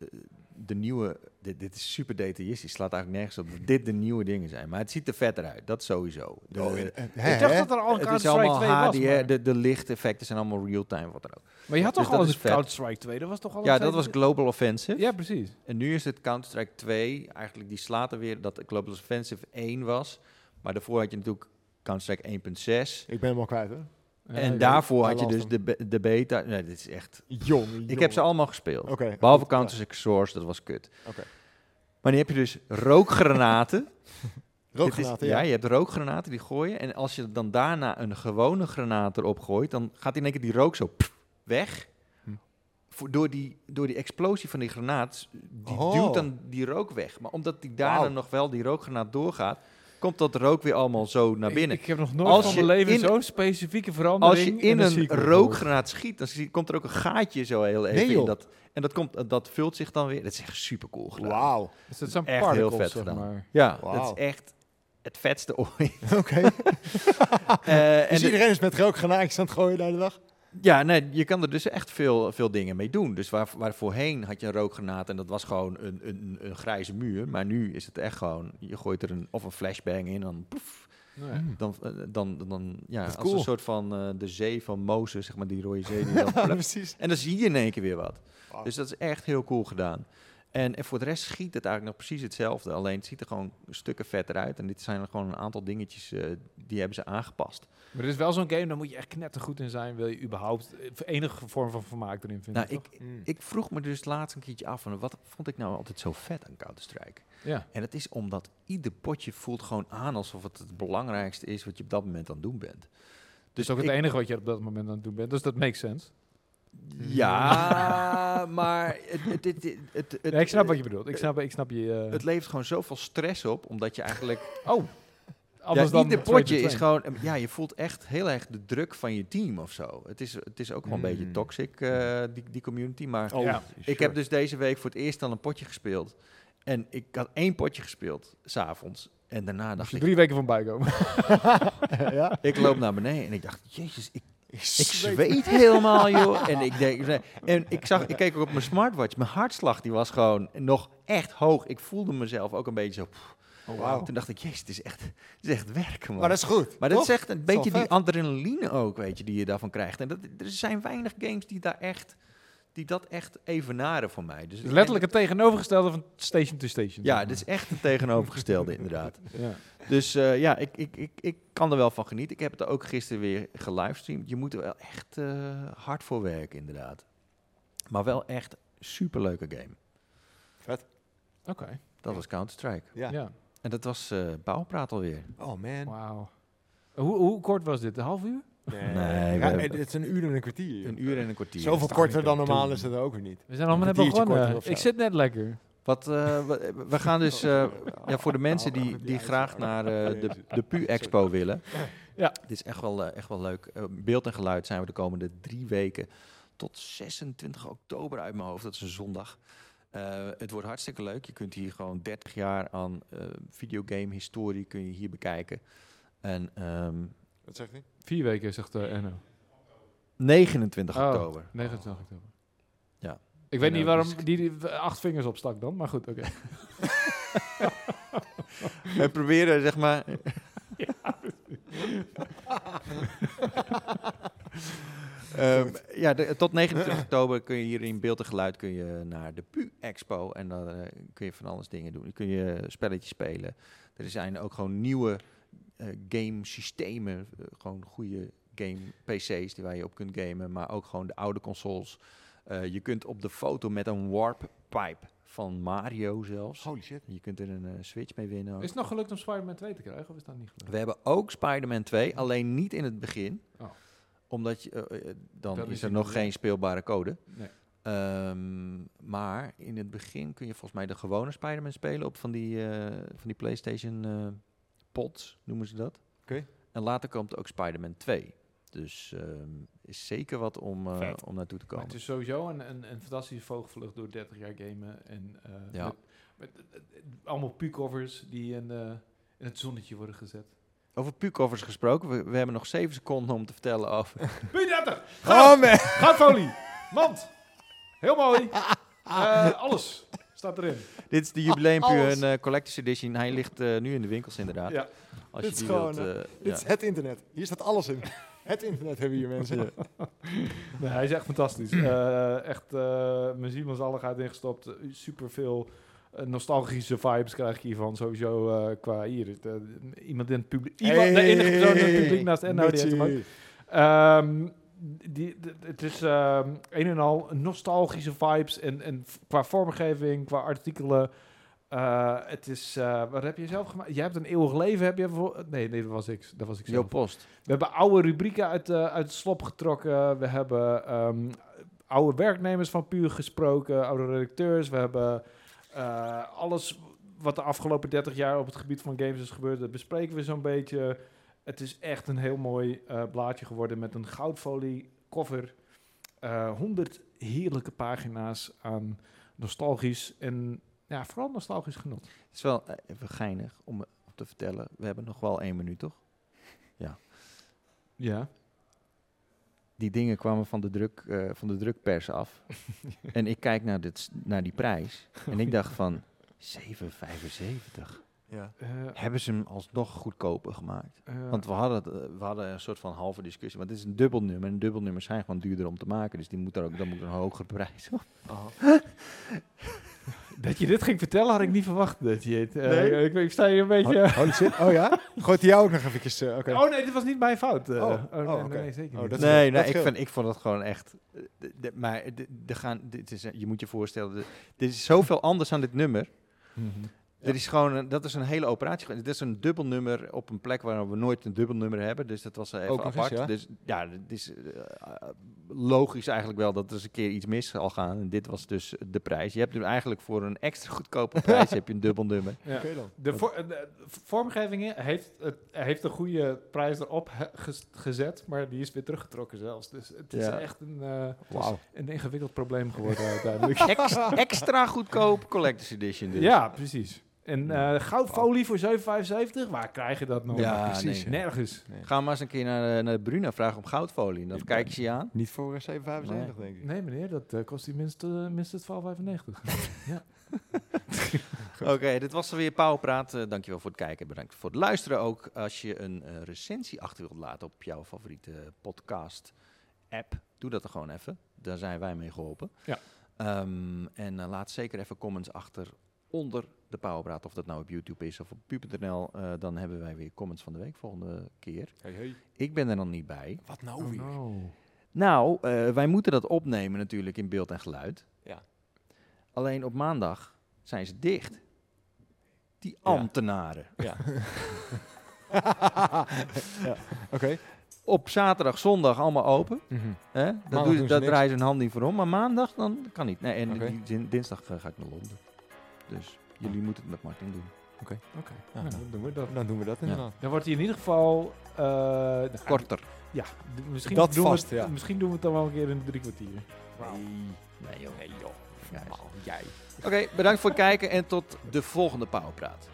de nieuwe, dit, dit is super detailistisch, slaat eigenlijk nergens op dat dit de nieuwe dingen zijn. Maar het ziet er vetter uit, dat sowieso. Oh, De, de- Eh, Ik dacht dat er al Oh, het een is Counter-Strike allemaal 2 HDR, was. Maar, de, de lichteffecten zijn allemaal real-time, wat dan ook. maar je had dus toch al dat een is vet. Counter-Strike 2? Dat was toch al Ja, een dat was tweede- Global Offensive. Ja, precies. En nu is het Counter-Strike 2. Eigenlijk die slaat er weer dat Global Offensive 1 was. Maar daarvoor had je natuurlijk Counter-Strike 1.6. Ik ben hem al kwijt, hè? Ja, en ik- daarvoor I had je lost dus him. de, be- de beta. Nee, dit is echt... Jong, jong. Ik heb ze allemaal gespeeld. Oké. Behalve Counter-Strike Source, dat was kut. Oké. Maar nu heb je dus rookgranaten. Dit Rookgranaten, is- ja. ja. je hebt rookgranaten die gooien. En als je dan daarna een gewone granaat erop gooit, dan gaat in één keer die rook zo pff, weg. Hm. Voor- door, die, door die explosie van die granaat, die Oh. duwt dan die rook weg. Maar omdat die daarna Wauw. nog wel die rookgranaat doorgaat, komt dat rook weer allemaal zo naar ik- binnen. Ik, heb nog nooit Als van je mijn leven in- zo'n specifieke verandering Als je in een, rookgranaat schiet, dan zie- komt er ook een gaatje zo heel even in. joh. Dat, en dat, komt, dat vult zich dan weer. Dat is echt super cool gedaan. Wauw. Is dat zo'n Echt heel particle, vet zeg gedaan. maar. Ja, Wauw. dat is echt het vetste ooit. Oké. Eh, en Dus de- iedereen is met rookgranaatjes aan het gooien de hele dag? Ja, nee, je kan er dus echt veel, veel dingen mee doen. Dus waar, waar voorheen had je een rookgranaat en dat was gewoon een, een, een grijze muur. Maar nu is het echt gewoon, je gooit er een, of een flashbang in en dan, poef, Nou ja. dan, eh, dan, dan, dan- ja, Dat is als cool. een soort van eh, de zee van Mozes, zeg maar, die rode zee. Die dan plukt. precies. en dan zie je in één keer weer wat. Wauw. Dus dat is echt heel cool gedaan. En, en voor de rest schiet het eigenlijk nog precies hetzelfde. Alleen het ziet er gewoon stukken vetter uit. En dit zijn er gewoon een aantal dingetjes, eh, die hebben ze aangepast. Maar het is wel zo'n game, daar moet je echt knettergoed in zijn. Wil je überhaupt eh, enige vorm van vermaak erin vinden. Nou, ik, Mm. Ik vroeg me dus laatst een keertje af van wat vond ik nou altijd zo vet aan Counter-Strike? toch? Ja. En dat is omdat ieder potje voelt gewoon aan alsof het het belangrijkste is wat je op dat moment aan het doen bent. Dus ook het ik- enige wat je op dat moment aan het doen bent. Dus dat makes sense. Ja, maar het, het, het, het, het- het- Nee, ik snap wat je bedoelt. Ik snap, ik snap je... eh, Het levert gewoon zoveel stress op, omdat je eigenlijk... oh! Ja, Anders dan ieder twee potje tegen is twee. gewoon... Ja, je voelt echt heel erg de druk van je team of zo. Het is, het is ook wel een beetje Hmm. Mm. toxic, eh, die, die community, maar... Oh, Ja. Ik heb dus deze week voor het eerst dan een potje gespeeld. En ik had één potje gespeeld, s'avonds. En daarna Moest dacht je ik, drie weken van bijkomen. ja? ik loop naar beneden en ik dacht, jezus, ik, Ik ik zweet. zweet helemaal, joh. En ik, denk, nee. en ik, zag, ik keek ook op mijn smartwatch. Mijn hartslag die was gewoon nog echt hoog. Ik voelde mezelf ook een beetje zo... pff. Oh, wauw. Toen dacht ik, jezus, het is echt, het is echt werken, man. Maar dat is goed. Maar dat toch? is echt een is beetje wel die vet. adrenaline ook, weet je, die je daarvan krijgt. En dat, er zijn weinig games die daar echt, die dat echt evenaren voor mij. Dus ik denk- Letterlijk het tegenovergestelde van station to station. Ja, dit is echt het tegenovergestelde inderdaad. Ja. Dus eh, ja, ik, ik, ik, ik kan er wel van genieten. Ik heb het ook gisteren weer gelivestreamd. Je moet er wel echt eh, hard voor werken inderdaad. Maar wel echt superleuke game. Oké. Dat was Counter-Strike. Ja. Ja. En dat was eh Bouwpraat alweer. Oh man. Wauw. Hoe, hoe kort was dit? Een half uur? Nee. Nee, Ja, we- het is een uur en een kwartier. Een uur en een kwartier. Zoveel is korter toch dan niet normaal te is het ook weer niet. We zijn allemaal net kwartiertje korter begonnen. of zo. Ik zit net lekker. Wat, eh, we, we gaan dus eh, ja, voor de Oh, mensen nou, die, die graag naar eh, de, de PU-expo willen. Ja. Dit is echt wel, eh, echt wel leuk. Eh, beeld en geluid zijn we de komende drie weken tot 26 oktober uit mijn hoofd. Dat is een zondag. Eh, het wordt hartstikke leuk. Je kunt hier gewoon 30 jaar aan eh, videogame-historie kun je hier bekijken. En ehm, Wat zegt hij? Vier weken, zegt eh Enno. 29 Oh, oktober. 29 oktober. Ja. Ik En weet niet ook waarom dus- die, die acht vingers opstak dan, maar goed, oké. We proberen zeg maar. Ehm, ja, de- tot 29 oktober kun je hier in beeld en geluid kun je naar de PU Expo en dan eh, kun je van alles dingen doen. Dan kun je spelletjes spelen. Er zijn ook gewoon nieuwe eh, game systemen, Eh, gewoon goede game PC's die waar je op kunt gamen, maar ook gewoon de oude consoles. Eh, je kunt op de foto met een warp pipe van Mario zelfs. Holy shit. Je kunt er een eh, Switch mee winnen. ook. Is het nog gelukt om Spider-Man 2 te krijgen of is dat niet gelukt? We hebben ook Spider-Man 2, alleen niet in het begin. Mhm. Oh. Omdat je, eh, eh, dan Dat is is er niet nog meer. geen speelbare code. Nee. Ehm, maar in het begin kun je volgens mij de gewone Spider-Man spelen op van die, eh, van die PlayStation eh, pods, noemen ze dat. Oké. En later komt ook Spider-Man 2. Dus ehm, is zeker wat om, eh, Vet. om naartoe te Maar komen. het is sowieso een, een, een fantastische vogelvlucht door 30 jaar gamen. En, eh, Ja. met, met, eh, allemaal pucovers die in, eh, in het zonnetje worden gezet. Over puukoffers gesproken, we, we hebben nog 7 seconden om te vertellen over... P30! Oh Goud! man. Goudfolie! Mand! Heel mooi! Eh, alles staat erin. Dit is de jubileum Pu, Oh, alles. een eh, Collector's Edition. Hij ligt eh, nu in de winkels inderdaad. Ja. Als Dit je is die gewoon, wilt... eh, Dit ja. is het internet. Hier staat alles in. Het internet hebben hier mensen. Nee, hij is echt fantastisch. Eh, echt, eh mijn ziel en zaligheid ingestopt. Super veel nostalgische vibes krijg ik hiervan. Sowieso eh, qua hier. is de- iemand in het publiek. Iemand, de enige persoon in het publiek naast Enno. Die heeft hem ook. Mitchie. Ehm, die, d- het is ehm, een en al nostalgische vibes. En, en v- qua vormgeving, qua artikelen. Eh, het is, eh, wat heb je zelf gemaakt? Jij hebt een eeuwig leven, heb je... voor- Nee, nee, dat was ik. Dat was ik zelf. Jouw post. We hebben oude rubrieken uit, eh, uit het slop getrokken. We hebben ehm, oude werknemers van Puur gesproken, oude redacteurs. We hebben eh, alles wat de afgelopen 30 jaar op het gebied van games is gebeurd, dat bespreken we zo'n beetje. Het is echt een heel mooi eh, blaadje geworden met een goudfolie cover. Eh, 100 heerlijke pagina's aan nostalgisch en ja, vooral nostalgisch genot. Het is wel eh, even geinig om eh, om te vertellen. We hebben nog wel één minuut, toch? Ja. Die dingen kwamen van de, druk, eh, van de drukpers af. en ik kijk naar, dit, s- naar die prijs. En ik dacht van, 7,75. Ja. Eh, Hebben ze hem alsnog goedkoper gemaakt? Want we hadden, het, eh, we hadden een soort van halve discussie. Want het is een dubbelnummer. En dubbelnummers zijn gewoon duurder om te maken. Dus die moet daar ook, dan moet er een hogere prijs op. Oh. Dat je dit ging vertellen had ik niet verwacht. Dat je het, eh, ik, ik sta hier een beetje. Holy shit. Oh ja? Gooit hij jou ook nog eventjes... eh, Oké. Oh nee, dit was niet mijn fout. eh. Oh, oh, nee, oh, nee, oké. nee, zeker Oh, niet. dat- nee, nee ik, scheelt. vind, ik vond het gewoon echt. eh, de- de- maar de, de gaan, dit is, eh, je moet je voorstellen, de- er is zoveel anders aan dit nummer. Mhm. Er is gewoon, een- dat is een hele operatie. geweest. Dit is een dubbel nummer op een plek waar we nooit een dubbel nummer hebben. Dus dat was eh, even Ook nog eens, apart. ja. Dus ja, het is eh, logisch eigenlijk wel dat er eens een keer iets mis zal gaan. En dit was dus de prijs. Je hebt nu eigenlijk voor een extra goedkope prijs heb je een dubbel nummer. Ja. Oké dan. De, voor- eh, de vormgeving heeft, het heeft een goede prijs erop he- ges- gezet, maar die is weer teruggetrokken zelfs. Dus het is Ja. echt een, eh, Wauw. een ingewikkeld probleem geworden uiteindelijk. Ex- extra goedkoop collector's edition. Dus. ja, precies. En eh, goudfolie voor 7,75? Waar krijg je dat nog? Ja, precies. nee. Nergens. Ga maar eens een keer naar, eh, naar Bruna vragen om goudfolie. En dan kijk je ze je aan. Niet voor eh, 7,75 denk ik. Nee, meneer, dat eh, kost die minstens minstens 12,95. Oké, dit was er weer Pauwpraat. Eh, dankjewel voor het kijken. Bedankt voor het luisteren ook. Als je een eh, recensie achter wilt laten op jouw favoriete podcast-app, doe dat dan gewoon even. Daar zijn wij mee geholpen. Ja. Ehm, en eh, laat zeker even comments achter onder de Pauwpraat. Of dat nou op YouTube is of op pu.nl. Eh, dan hebben wij weer comments van de week volgende keer. Hey, hey. Ik ben er dan niet bij. Wat Oh, nou weer? Nou, eh, wij moeten dat opnemen natuurlijk in beeld en geluid. Ja. Alleen op maandag zijn ze dicht. Die ambtenaren. ja. Oké. Op zaterdag, zondag allemaal open. Mhm. Hè? Dat, doen doe, ze dat niks. draaien ze hun hand niet voor om. Maar maandag dan kan niet. Nee, en Oké. die- din- dinsdag eh, ga ik naar Londen. Dus jullie moeten het met Martin doen. Oké, Ja, nou, dan doen we dat. Dan doen we dat inderdaad. Dan wordt hij in ieder geval... eh, nou, Korter. Ja, d- misschien, Dat doen vast, we, het- ja. misschien doen we het dan wel een keer in drie kwartier. Nee joh. Nee joh, Ja, is- jij. Oké, bedankt voor het kijken en tot de volgende Pauwpraat.